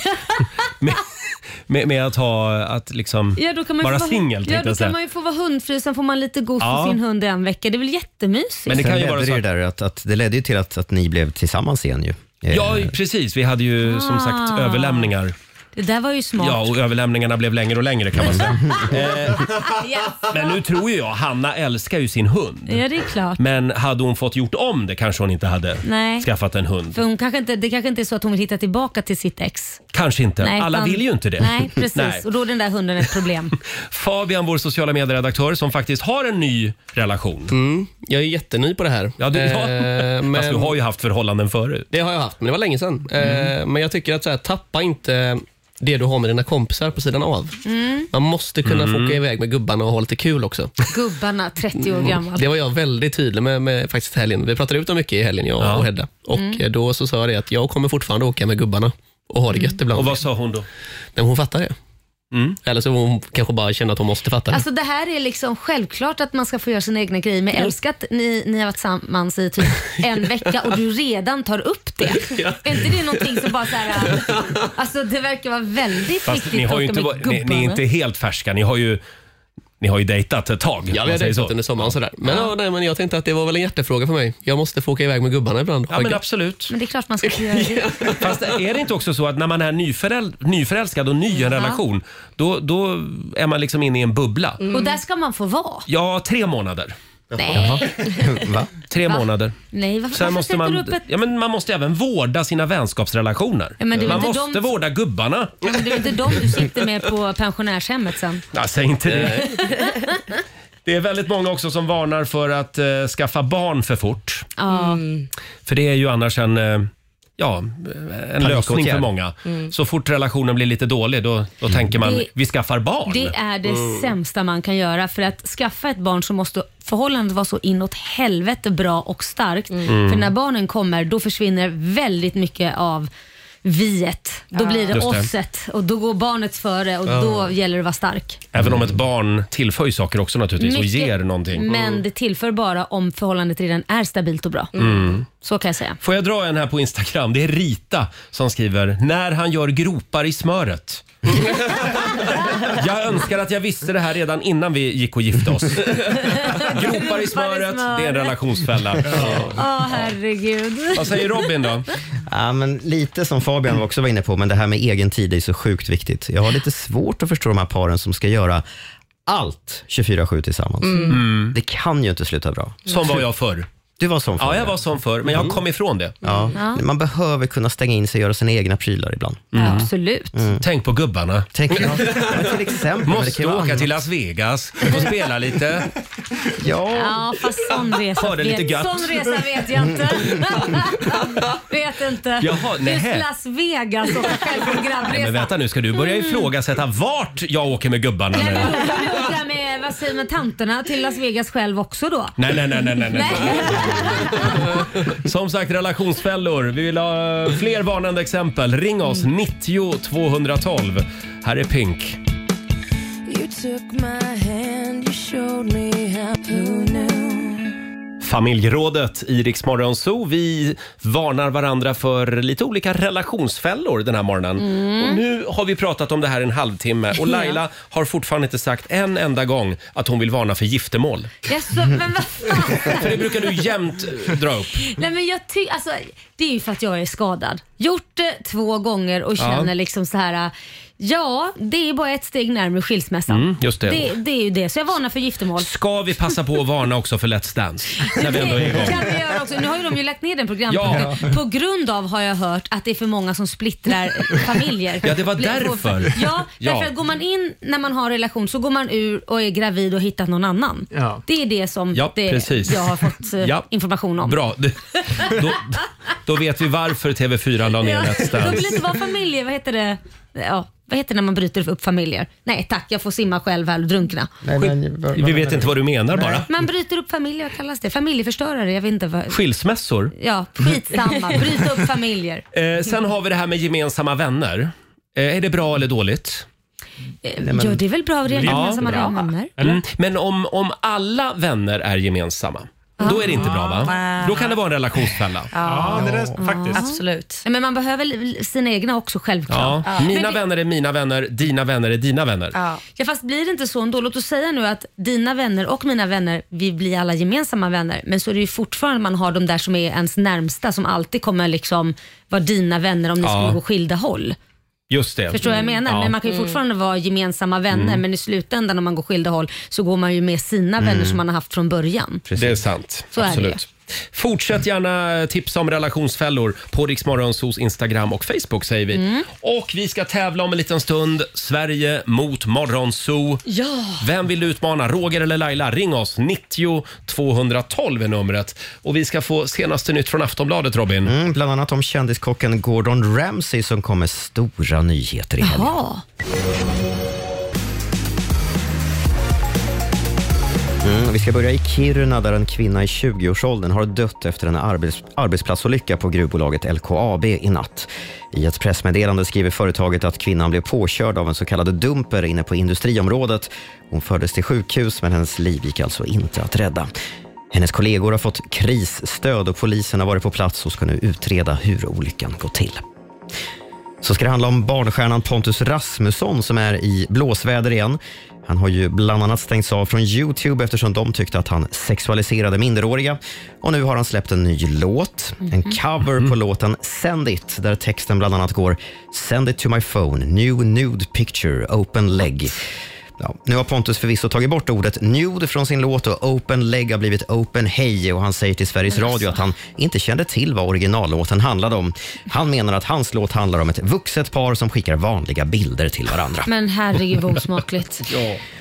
S1: med, med, med att ha, att liksom
S2: Ja, då kan man ju
S1: vara
S2: få vara-
S1: singel
S2: Ja,
S1: tänkte
S2: då
S1: jag säga.
S2: kan man ju få vara hundfri, sen får man lite god
S3: Ja.
S2: för sin hund i en vecka. Det är väl jättemysigt?
S3: Men det kan ju vara så. Det, där att, att det ledde ju till att, att ni blev tillsammans igen ju. Eh,
S1: Ja, precis. Vi hade ju som sagt
S2: Ah.
S1: överlämningar.
S2: Det där var ju smart.
S1: Ja, och överlämningarna blev längre och längre kan man säga. eh,
S2: Yes.
S1: men nu tror ju jag, Hanna älskar ju sin hund.
S2: Ja, det är klart.
S1: Men hade hon fått gjort om det kanske hon inte hade
S2: Nej.
S1: skaffat en hund.
S2: För hon kanske inte, det kanske inte är så att hon vill hitta tillbaka till sitt ex.
S1: Kanske inte.
S2: Nej,
S1: Alla
S2: utan-
S1: vill ju inte det.
S2: Nej, precis.
S1: Nej.
S2: Och då är den där hunden ett problem.
S1: Fabian, vår sociala medieredaktör som faktiskt har en ny relation.
S9: Mm. Jag är jätteny på det här.
S1: Ja, du, ja.
S9: Eh,
S1: Fast
S9: men-
S1: du har ju haft förhållanden förut. Mm.
S9: Det har jag haft, men det var länge sedan. Eh, men jag tycker att så här, tappa inte det du har med dina kompisar på sidan av.
S2: Mm.
S9: Man måste kunna få
S2: Mm.
S9: åka iväg med gubbarna och ha lite kul också.
S2: Gubbarna, 30
S1: Mm.
S2: år gammal.
S9: Mm. Det var jag väldigt tydlig med, med faktiskt i helgen. Vi pratade ut om mycket i helgen, jag och Hedda. Och
S2: Mm.
S9: eh, Då så sa jag det att jag kommer fortfarande åka med gubbarna och ha det
S2: Mm.
S9: gött ibland. Och
S1: vad sa hon då? Mm.
S9: Men hon fattar det. Eller så hon kanske bara känner att hon måste fatta det.
S2: Alltså det här är liksom självklart att man ska få göra sina egna grejer men jag älskar att ni, ni har varit tillsammans i typ en vecka och du redan tar upp det. Är inte det någonting som bara så här, alltså det verkar vara väldigt
S1: Fast
S2: viktigt
S1: ni, har ju
S2: att
S1: inte,
S2: åka
S1: varit-
S2: med
S1: ni, ni är
S2: gubbarna.
S1: inte helt färska. Ni har ju, ni har ju dejtat ett tag. om
S9: Ja,
S1: man
S9: vi har
S1: säger
S9: dejtat
S1: så.
S9: under sommaren och sådär. Men, ja. nej, men jag tänkte att det var väl en hjärtefråga för mig. Jag måste få åka iväg med gubbarna ibland.
S1: Ja, men absolut.
S2: Men det är klart man ska få göra det.
S1: Fast är det inte också så att när man är nyföräl- nyförälskad och ny i en
S2: Ja.
S1: relation, då, då är man liksom inne i en bubbla.
S2: Och där ska man få vara.
S1: Ja, tre månader.
S2: Nej.
S1: Va? Tre
S2: Va?
S1: månader.
S2: Nej, varför,
S1: Sen
S2: varför
S1: måste
S2: sätter du upp
S1: man,
S2: ett...
S1: ja, men man måste även vårda sina vänskapsrelationer.
S2: Ja, men det är
S1: man
S2: väl inte
S1: måste
S2: de-
S1: vårda gubbarna.
S2: Ja, men det är inte de du sitter med på pensionärshemmet sen?
S1: Nej, säg inte det. Eh, Det är väldigt många också som varnar för att eh, skaffa barn för fort.
S2: Ja.
S1: Mm. För det är ju annars en, eh, ja, en lösning för
S3: Panikåtgärd.
S1: många.
S2: Mm.
S1: Så fort relationen blir lite dålig, då, då tänker man
S2: Det-
S1: vi skaffar barn.
S2: Det är det
S1: Mm.
S2: sämsta man kan göra. För att skaffa ett barn så måste förhållandet vara så inåt helvete bra och starkt.
S17: Mm.
S2: För när barnen kommer då försvinner väldigt mycket av viet. Då
S17: Ja.
S2: blir det
S1: Just det. Ah.
S2: osset och då går barnet före och
S1: Ja.
S2: då gäller det att vara stark.
S1: Även om ett barn tillför ju saker också naturligtvis och
S2: Mycket,
S1: ger någonting.
S2: Men det tillför bara om förhållandet redan är stabilt och bra.
S1: Mm.
S2: Så kan jag säga.
S1: Får jag dra en här på Instagram? Det är Rita som skriver “När han gör gropar i smöret”. jag önskar att jag visste det här redan innan vi gick och gifte oss. Gropar i smöret, det är en relationsfälla.
S2: Åh herregud.
S1: Vad säger Robin då?
S3: Ja, men lite som Fabian också var inne på, men det här med egen tid är så sjukt viktigt. Jag har lite svårt att förstå de här paren som ska göra allt 24-7 tillsammans.
S1: Mm. Mm.
S3: Det kan ju inte sluta bra.
S1: Som var jag förr.
S3: Du var sån förr.
S1: Ja, jag var sån förr, men jag
S3: Mm.
S1: kom ifrån det.
S3: Ja.
S2: Mm. Ja.
S3: Man behöver kunna stänga in sig och göra sina egna prylar ibland. Mm.
S2: Absolut.
S1: Mm. Tänk på gubbarna.
S3: Tänk, ja. men till exempel, men det
S1: Måste
S3: kan ju vara
S1: åka
S3: annat.
S1: till Las Vegas och spela lite.
S2: Ja, fast sån resa,
S1: Ha det lite
S2: vet,
S1: gött.
S2: sån resa vet jag inte. vet inte.
S1: Jaha,
S2: Just
S1: nähä.
S2: Las Vegas och själv på en
S1: Nej, men
S2: grabbresa.
S1: vänta nu, ska du börja ifrågasätta vart jag åker med gubbarna nu?
S2: Men då kan du åka med, vad säger man, tanterna till Las Vegas själv också då?
S1: Nej, nej, nej, nej, nej. nej. Som sagt, relationsfällor. Vi vill ha fler varnande exempel. Ring oss, 90 212. Här är Pink.
S17: You took my hand, you showed me how to
S1: Familjerådet i Rix Morgon Zoo. Vi varnar varandra för lite olika relationsfällor den här morgonen.
S17: Mm.
S1: Och nu har vi pratat om det här en halvtimme och Laila har fortfarande inte sagt en enda gång att hon vill varna för giftermål.
S2: Jaså, men vad fan?
S1: För det brukar du jämt dra upp.
S2: Nej men jag ty- alltså, det är ju för att jag är skadad. Gjort det två gånger och
S1: Ja.
S2: känner liksom så här. Ja, det är bara ett steg närmare skilsmässan.
S1: Mm, just det.
S2: det. Det är ju det, så jag varnar för giftermål.
S1: Ska vi passa på att varna också för Let's Dance? När vi ändå är igång.
S2: kan vi göra också. Nu har ju de ju lagt ner den programpunkten.
S1: Ja.
S2: På grund av har jag hört att det är för många som splittrar familjer.
S1: Ja, det var
S2: Blir-
S1: därför.
S2: Ja,
S1: Ja.
S2: därför att går man in när man har en relation så går man ur och är gravid och hittat någon annan.
S1: Ja.
S2: Det är det som
S1: Ja,
S2: det,
S1: precis.
S2: jag har fått eh,
S1: Ja.
S2: information om.
S1: Bra. Då, Då vet vi varför TV4 la ner Let's
S2: De vill
S1: Dance.
S2: inte vara familjer, vad heter det? Ja, vad heter det när man bryter upp familjer? Nej tack, jag får simma själv här och drunkna.
S1: Vi vet inte vad du menar bara.
S2: Man bryter upp familjer, vad kallas det? Familjeförstörare, jag vet inte vad.
S1: Skilsmässor.
S2: Ja, skitsamma. Bryta upp familjer.
S1: Eh, sen har vi det här med gemensamma vänner. Eh, är det bra eller dåligt?
S2: Nej, men- Ja, Eh, det är väl bra att reda gemensamma vänner.
S1: Mm. Men om, om alla vänner är gemensamma, då är det inte bra va?
S2: Ah.
S1: Då kan det vara en relationsfälla.
S16: Ja, det är faktiskt.
S2: Absolut. Men man behöver li- sina egna också
S1: Ja.
S2: självklart.
S1: Mina
S2: Men det-
S1: vänner är mina vänner, dina vänner är dina vänner.
S2: Ja, fast blir det inte så ändå? Låt oss säga nu att dina vänner och mina vänner, vi blir alla gemensamma vänner. Men så är det ju fortfarande man har de där som är ens närmsta som alltid kommer liksom vara dina vänner om ni
S1: Ja.
S2: skulle gå skilda håll.
S1: Just det.
S2: Förstår vad jag menar?
S1: Ja.
S2: Men man kan ju fortfarande vara gemensamma vänner
S1: Mm.
S2: men i slutändan om man går skilda håll så går man ju med sina vänner
S1: Mm.
S2: som man har haft från början.
S1: Det är sant.
S2: Så är det
S1: Absolut. Fortsätt gärna tipsa om relationsfällor på Riksmorgonsos Instagram och Facebook säger vi.
S2: Mm.
S1: Och vi ska tävla om en liten stund. Sverige mot Morgonzoo.
S2: Ja.
S1: Vem vill du utmana? Roger eller Laila? Ring oss. 90 212 är numret. Och vi ska få senaste nytt från Aftonbladet, Robin.
S3: Mm, bland annat om kändiskocken Gordon Ramsay som kommer stora nyheter i helgen.
S2: Jaha.
S3: Mm, vi ska börja i Kiruna där en kvinna i 20-årsåldern har dött efter en arbets arbetsplatsolycka på gruvbolaget LKAB i natt. I ett pressmeddelande skriver företaget att kvinnan blev påkörd av en så kallad dumper inne på industriområdet. Hon fördes till sjukhus men hennes liv gick alltså inte att rädda. Hennes kollegor har fått krisstöd och polisen har varit på plats och ska nu utreda hur olyckan gått till. Så ska det handla om barnstjärnan Pontus Rasmusson som är i blåsväder igen. Han har ju bland annat stängts av från Youtube eftersom de tyckte att han sexualiserade minderåriga. Och nu har han släppt en ny låt, en cover på låten Send it, där texten bland annat går Send it to my phone, new nude picture, open leg. Ja, nu har Pontus förvisso tagit bort ordet nude från sin låt och open leg har blivit open hey och han säger till Sveriges Radio att han inte kände till vad originallåten handlade om. Han menar att hans låt handlar om ett vuxet par som skickar vanliga bilder till varandra.
S2: Men herregud vad osmakligt.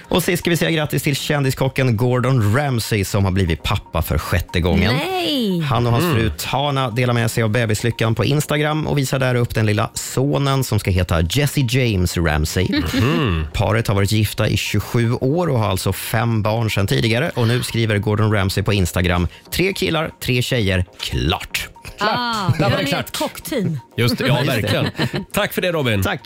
S3: Och sist ska vi säga grattis till kändiskocken Gordon Ramsay som har blivit pappa för sjätte gången.
S2: Nej.
S3: Han och hans
S2: Mm.
S3: fru Tana delar med sig av bebislyckan på Instagram och visar där upp den lilla sonen som ska heta Jesse James Ramsay.
S12: Mhm.
S3: Paret har varit gifta i 27 år och har alltså fem barn sedan tidigare. Och nu skriver Gordon Ramsay på Instagram, tre killar, tre tjejer, klart.
S2: Ah,
S3: Där var
S2: jag
S3: det
S2: är med
S3: klart.
S2: ett kockteam.
S1: Just det, ja verkligen. Tack för det Robin. Tack.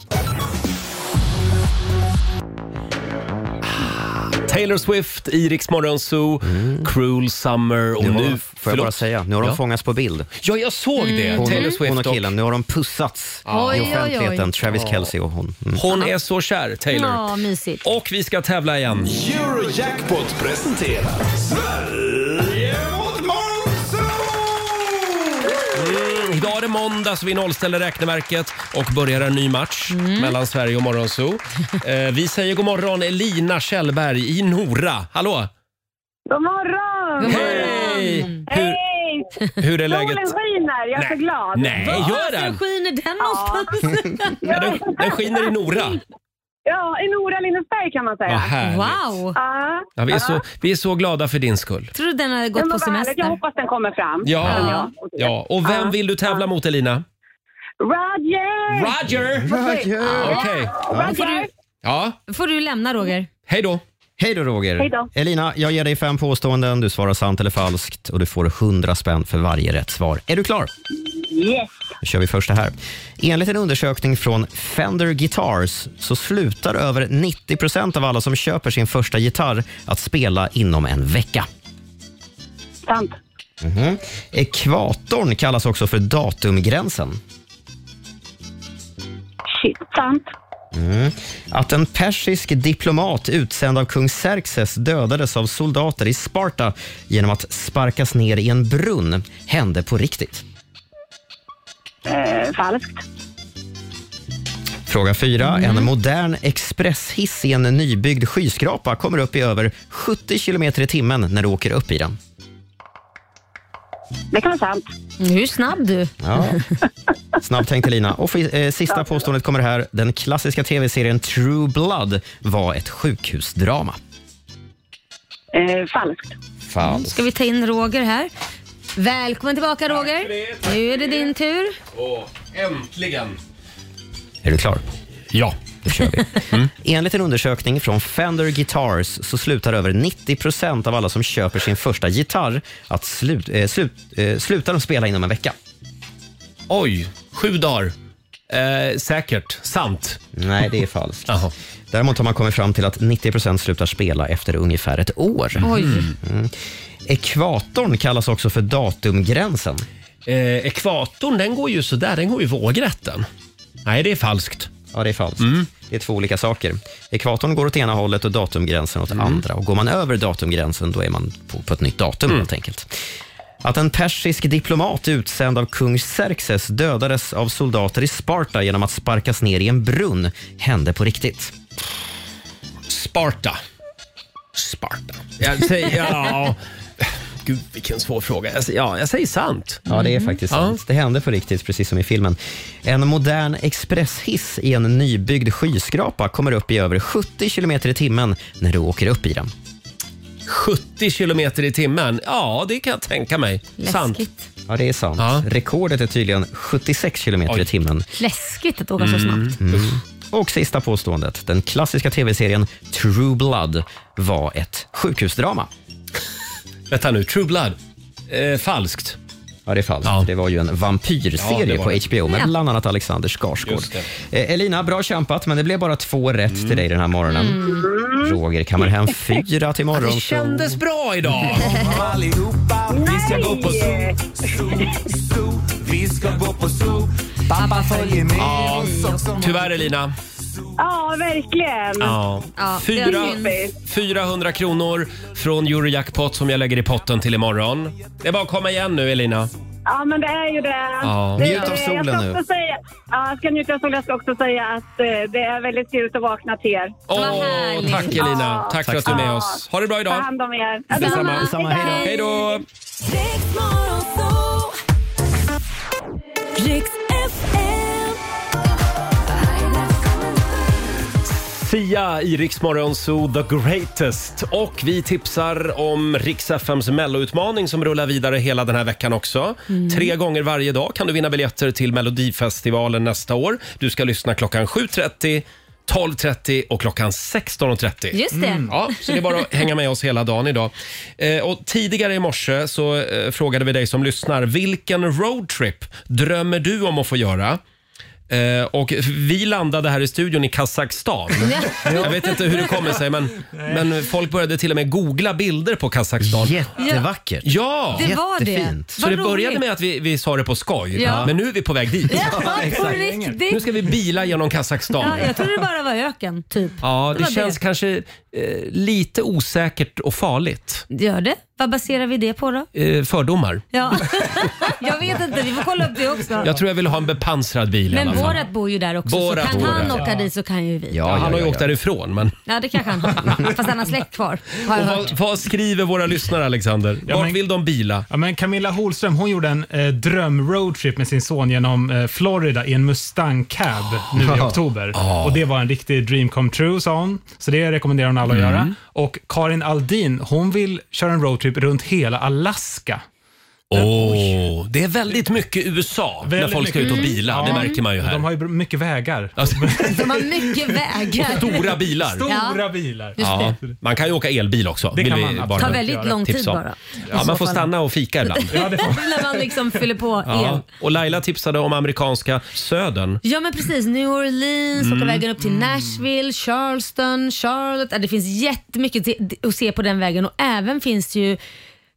S1: Taylor Swift, i Rix Morgon Zoo, Cruel Summer och
S3: Mm. Nu
S1: nu...
S3: har de- får jag bara säga, nu har de fångats på bild. Mm.
S1: Ja, jag såg det.
S3: Hon,
S1: Taylor Swift
S3: hon och
S1: och-
S3: killen, nu har de pussats
S1: Ja.
S3: i
S1: Oj, oj, oj.
S3: offentligheten. Travis
S1: Ja.
S3: Kelce och hon. Mm.
S1: Hon är så kär, Taylor.
S2: Ja, mysigt.
S1: Och vi ska tävla igen.
S12: Eurojackpot presenterar Sverige mot
S1: Mm, idag är det måndag så vi nollställer räkneverket och börjar en ny match mellan Sverige och Morgonzoo. Eh, vi säger god morgon Elina Kjellberg i Nora. Hallå!
S11: God morgon!
S1: God morgon! Hej! Hur-
S11: Hej!
S1: hur är läget?
S11: Solen skiner, jag är så
S1: Nej.
S11: glad.
S1: Nej, gör den?
S2: Varför skiner den någonstans?
S1: Ja, den, den skiner i Nora.
S11: Ja, i Nora Lindesberg kan man
S1: Vad
S11: säga.
S1: härligt.
S2: Wow!
S11: Ja.
S1: Ja, vi, är
S11: Ja.
S1: så, vi är så glada för din skull.
S2: Tror du den har
S11: Ja,
S2: gått
S11: men
S2: på
S11: vad härligt. Jag
S2: semester?
S11: hoppas den kommer fram.
S1: Ja. ja. Och vem vill du tävla mot Elina?
S11: Roger!
S1: Roger!
S11: Ja.
S1: Okej.
S11: Roger!
S1: Ja.
S2: får du lämna Roger.
S1: Hej då!
S3: Hej då Roger.
S2: Hej då.
S3: Elina, jag ger dig fem påståenden. Du svarar sant eller falskt och du får 100 spänn för varje rätt svar. Är du klar?
S11: Yes!
S3: Då kör vi först det här. Enligt en undersökning från Fender Guitars så slutar över 90 av alla som köper sin första gitarr att spela inom en vecka.
S11: Sant.
S3: Mhm. Ekvatorn kallas också för datumgränsen.
S11: Shit, sant.
S3: Mm. Att en persisk diplomat utsänd av kung Xerxes dödades av soldater i Sparta genom att sparkas ner i en brunn hände på riktigt.
S11: Eh, falskt.
S3: Fråga 4. En modern expresshiss i en nybyggd skyskrapa kommer upp i över 70 km i timmen när du åker upp i den.
S11: Det kan vara sant.
S2: Hur snabb du.
S3: Ja. Snabbt tänkt Elina. Och fi- eh, sista påståendet kommer här. Den klassiska tv-serien True Blood var ett sjukhusdrama.
S11: Eh, falskt.
S3: Falskt.
S2: Ska vi ta in Roger här? Välkommen tillbaka Roger. Nu är det din tur.
S1: Åh, äntligen!
S3: Är du klar?
S1: Ja.
S3: Då kör vi. Mm. Enligt en undersökning från Fender Guitars så slutar över 90 procent av alla som köper sin första gitarr att slut, eh, slut, eh, slutar de spela inom en vecka.
S1: Oj, sju dagar. Eh, säkert. Sant.
S3: Nej, det är falskt. Däremot har man kommit fram till att 90 procent slutar spela efter ungefär ett år.
S1: Oj.
S3: Mm. Ekvatorn kallas också för datumgränsen.
S1: Eh, ekvatorn, den går ju sådär. Den går ju vågrätten. Nej, det är falskt. Mm.
S3: Ja, det är falskt. Det är två olika saker. Ekvatorn går åt ena hållet och datumgränsen
S1: Mm.
S3: åt andra. Och Går man över datumgränsen, då är man på, på ett nytt datum
S1: Mm.
S3: helt enkelt. Att en persisk diplomat utsänd av kung Xerxes dödades av soldater i Sparta genom att sparkas ner i en brunn hände på riktigt.
S1: Sparta. Sparta. Jag säger, ja. Gud, vilken svår fråga. Jag, säger- ja, jag säger sant.
S3: Mm. Ja, det är faktiskt sant. Det hände på riktigt, precis som i filmen. En modern expresshiss i en nybyggd skyskrapa kommer upp i över 70 km i timmen när du åker upp i den.
S1: 70 kilometer i timmen. Ja, det kan jag tänka mig.
S2: Läskigt.
S1: Sant.
S3: Ja, det är sant. Rekordet är tydligen 76 km i timmen.
S2: Läskigt att åka så snabbt.
S3: Mm. Och sista påståendet. Den klassiska tv-serien True Blood var ett sjukhusdrama.
S1: Vänta nu, True Blood. Eh, falskt.
S3: Ja, det är falskt. Det var ju en
S1: Ja, det
S3: vampyrserie
S1: var
S3: på
S1: det.
S3: HBO med
S1: Ja.
S3: bland annat Alexander Skarsgård.
S1: Just Mm.
S3: Eh, Elina, bra kämpat, men det blev bara två rätt till dig den här morgonen. Roger kammar hem fyra till morgon.
S1: Det kändes bra idag.
S12: Allihopa, vi ska
S1: Nej!
S12: gå på zoo, zoo, zoo. Vi ska gå på zoo. Pappa följer med
S1: Ja,
S12: oss också.
S1: tyvärr Elina.
S11: Ja, verkligen.
S1: Ja. Fyra, 400 kronor från Eurojackpot som jag lägger i potten till imorgon. Det är bara att komma igen nu Elina.
S11: Ja, men det är ju det.
S1: Ja.
S11: det
S1: Njut av solen
S11: jag ska
S1: nu.
S11: också Säga, ja, jag ska njuta av solen. Jag ska också säga att eh, det är väldigt trevligt att vakna till er.
S1: Åh, tack Elina. Tack för att du är med oss. Ha det bra
S11: Ta
S1: idag.
S11: hand om er.
S1: Detsamma.
S11: Detsamma.
S1: Hej då.
S17: Riks FM.
S1: Sia i Rix Morgon Zoo, The Greatest. Och vi tipsar om Rix FMs Melloutmaning som rullar vidare hela den här veckan också.
S9: Mm.
S1: Tre gånger varje dag kan du vinna biljetter till Melodifestivalen nästa år. Du ska lyssna klockan 7.30, 12.30 och klockan 16.30.
S2: Just det. Mm.
S1: Ja, så det är bara att hänga med oss hela dagen idag. Eh, och tidigare i morse så eh, frågade vi dig som lyssnar, vilken roadtrip drömmer du om att få göra? Eh, och vi landade här i studion i Kazakstan. Jag vet inte hur det kommer sig, men, men folk började till och med googla bilder på Kazakstan.
S3: Jättevackert.
S1: Ja!
S2: Det var det. Jättefint.
S1: Så
S2: Vad
S1: det
S2: roligt.
S1: började med att vi, vi sa det på skoj,
S2: Ja.
S1: men nu är vi på väg dit.
S2: Ja, på riktigt.
S1: Nu ska vi bila genom Kazakstan.
S2: Ja, jag trodde det bara var öken, typ.
S1: Ja,
S2: Det
S1: det
S2: var
S1: känns
S2: det.
S1: kanske eh, lite osäkert och farligt.
S2: Gör det? Vad baserar vi det på då?
S1: Eh, fördomar.
S2: Ja. jag vet inte, vi får kolla upp det också.
S1: Jag tror jag vill ha en bepansrad bil i
S2: Men
S1: alla fall.
S2: Borat bor ju där också,
S1: Borat
S2: så kan
S1: bor
S2: han
S1: där.
S2: åka dit så kan ju vi.
S1: Ja, han har ju åkt därifrån. Men...
S2: Ja, det kanske han har. Fast han har släkt kvar, har jag
S1: Och
S2: hört.
S1: vad, vad skriver våra lyssnare Alexander? Vart vill de bila?
S6: Ja, men Camilla Holström hon gjorde en eh, drömroadtrip med sin son genom eh, Florida i en Mustang Cab nu i oktober. Och Det var en riktig dream come true, sa hon. Så det rekommenderar hon alla att
S1: Mm.
S6: göra. Och Karin Aldin hon vill köra en roadtrip runt hela Alaska. Eh,
S1: Åh, det är väldigt mycket USA när folk ska ut och bila. Det märker man ju här.
S6: Mm. De har ju mycket vägar.
S1: Alltså-
S2: De har mycket vägar.
S1: Och stora bilar.
S6: Stora bilar.
S1: Ja, man kan ju åka elbil också. Det
S6: kan
S1: vi
S6: man
S2: Tar väldigt lång tid
S1: tipsa om.
S2: bara.
S1: Ja,
S2: I
S1: man
S2: så
S1: får
S2: fall.
S1: stanna och fika ibland.
S2: När man liksom fyller på el.
S1: Ja. Och Laila tipsade om amerikanska södern.
S2: Ja men precis, New Orleans,
S1: Mm.
S2: åka vägen upp till Nashville, Charleston, Charlotte. Ja, Det finns jättemycket te- att se på den vägen och även finns det ju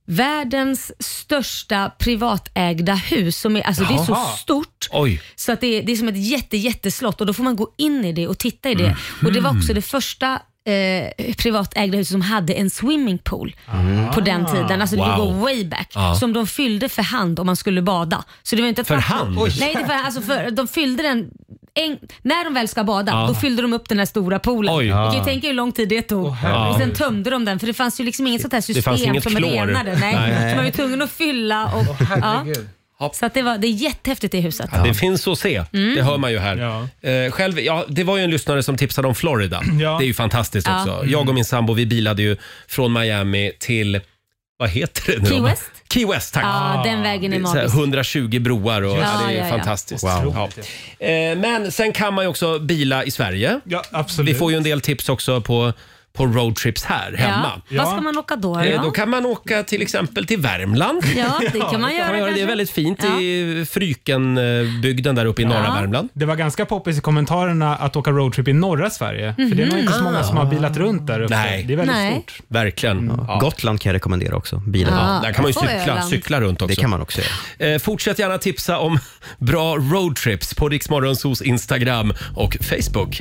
S2: världens största privatägda hus. Som är, alltså det är så
S1: Jaha.
S2: stort
S1: Oj.
S2: så att det, är, det är som ett jätte, jätteslott och då får man gå in i det och titta i det. Och Det
S1: Mm.
S2: var också det första Eh, privatägda huset som hade en swimmingpool
S12: Mm.
S2: på den tiden. Alltså det
S1: Ah. Wow.
S2: går way back.
S1: Ja.
S2: Som de fyllde för hand om man skulle bada. Så det var inte ett
S1: För
S2: vatten-
S1: hand?
S2: Nej, det var, alltså för, de fyllde den en, när de väl ska bada,
S1: Ja.
S2: då fyllde de upp den här stora poolen.
S1: Ah. Oj.
S2: Du kan ju
S1: Ja.
S2: tänka hur lång tid det tog.
S1: herregud.
S2: och sen tömde de den för det fanns ju liksom inget sånt här
S1: Det fanns
S2: system
S1: inget
S2: som
S1: klor.
S2: renade. Nej.
S1: Nej.
S2: Så man var ju tvungen att fylla. Och, ja. Så att det, var, det är jättehäftigt det huset.
S1: Det finns att se.
S2: Mm.
S1: Det hör man ju här. Eh, själv, ja, det var ju en lyssnare som tipsade om Florida.
S6: Ja.
S1: Det är ju fantastiskt
S2: Ja.
S1: också.
S2: Mm.
S1: Jag och min sambo vi bilade ju från Miami till Vad heter det nu?
S2: Key
S1: då?
S2: West?
S1: Key West, tack.
S2: Ja, den vägen är
S1: Det så här
S2: magisk.
S1: 120 broar och
S2: Ja,
S1: ja, det är
S2: ja, ja.
S1: fantastiskt.
S2: Wow.
S1: Ja. Eh, Men sen kan man ju också bila i Sverige.
S6: Ja, absolut.
S1: Vi får ju en del tips också på, på roadtrips här hemma.
S2: Ja. Vad ska man åka då?
S1: Eh, Då
S2: Då?
S1: kan man åka till exempel till Värmland.
S2: Ja, det kan man göra
S1: Det
S2: kanske.
S1: är väldigt fint
S2: Ja.
S1: i Frykenbygden där uppe i norra Värmland.
S6: Det var ganska poppis i kommentarerna att åka roadtrip i norra Sverige. För det är nog inte så många som har bilat runt där uppe.
S1: Nej.
S6: Det är väldigt
S2: Nej.
S6: stort.
S1: Verkligen.
S3: Gotland kan jag rekommendera också. Bilen.
S1: Ja, där kan man ju
S2: och
S1: cykla,
S2: Öland.
S1: cykla runt också.
S3: Det kan man också göra.
S1: Eh, fortsätt gärna tipsa om bra roadtrips på Riksmorgonsos Instagram och Facebook.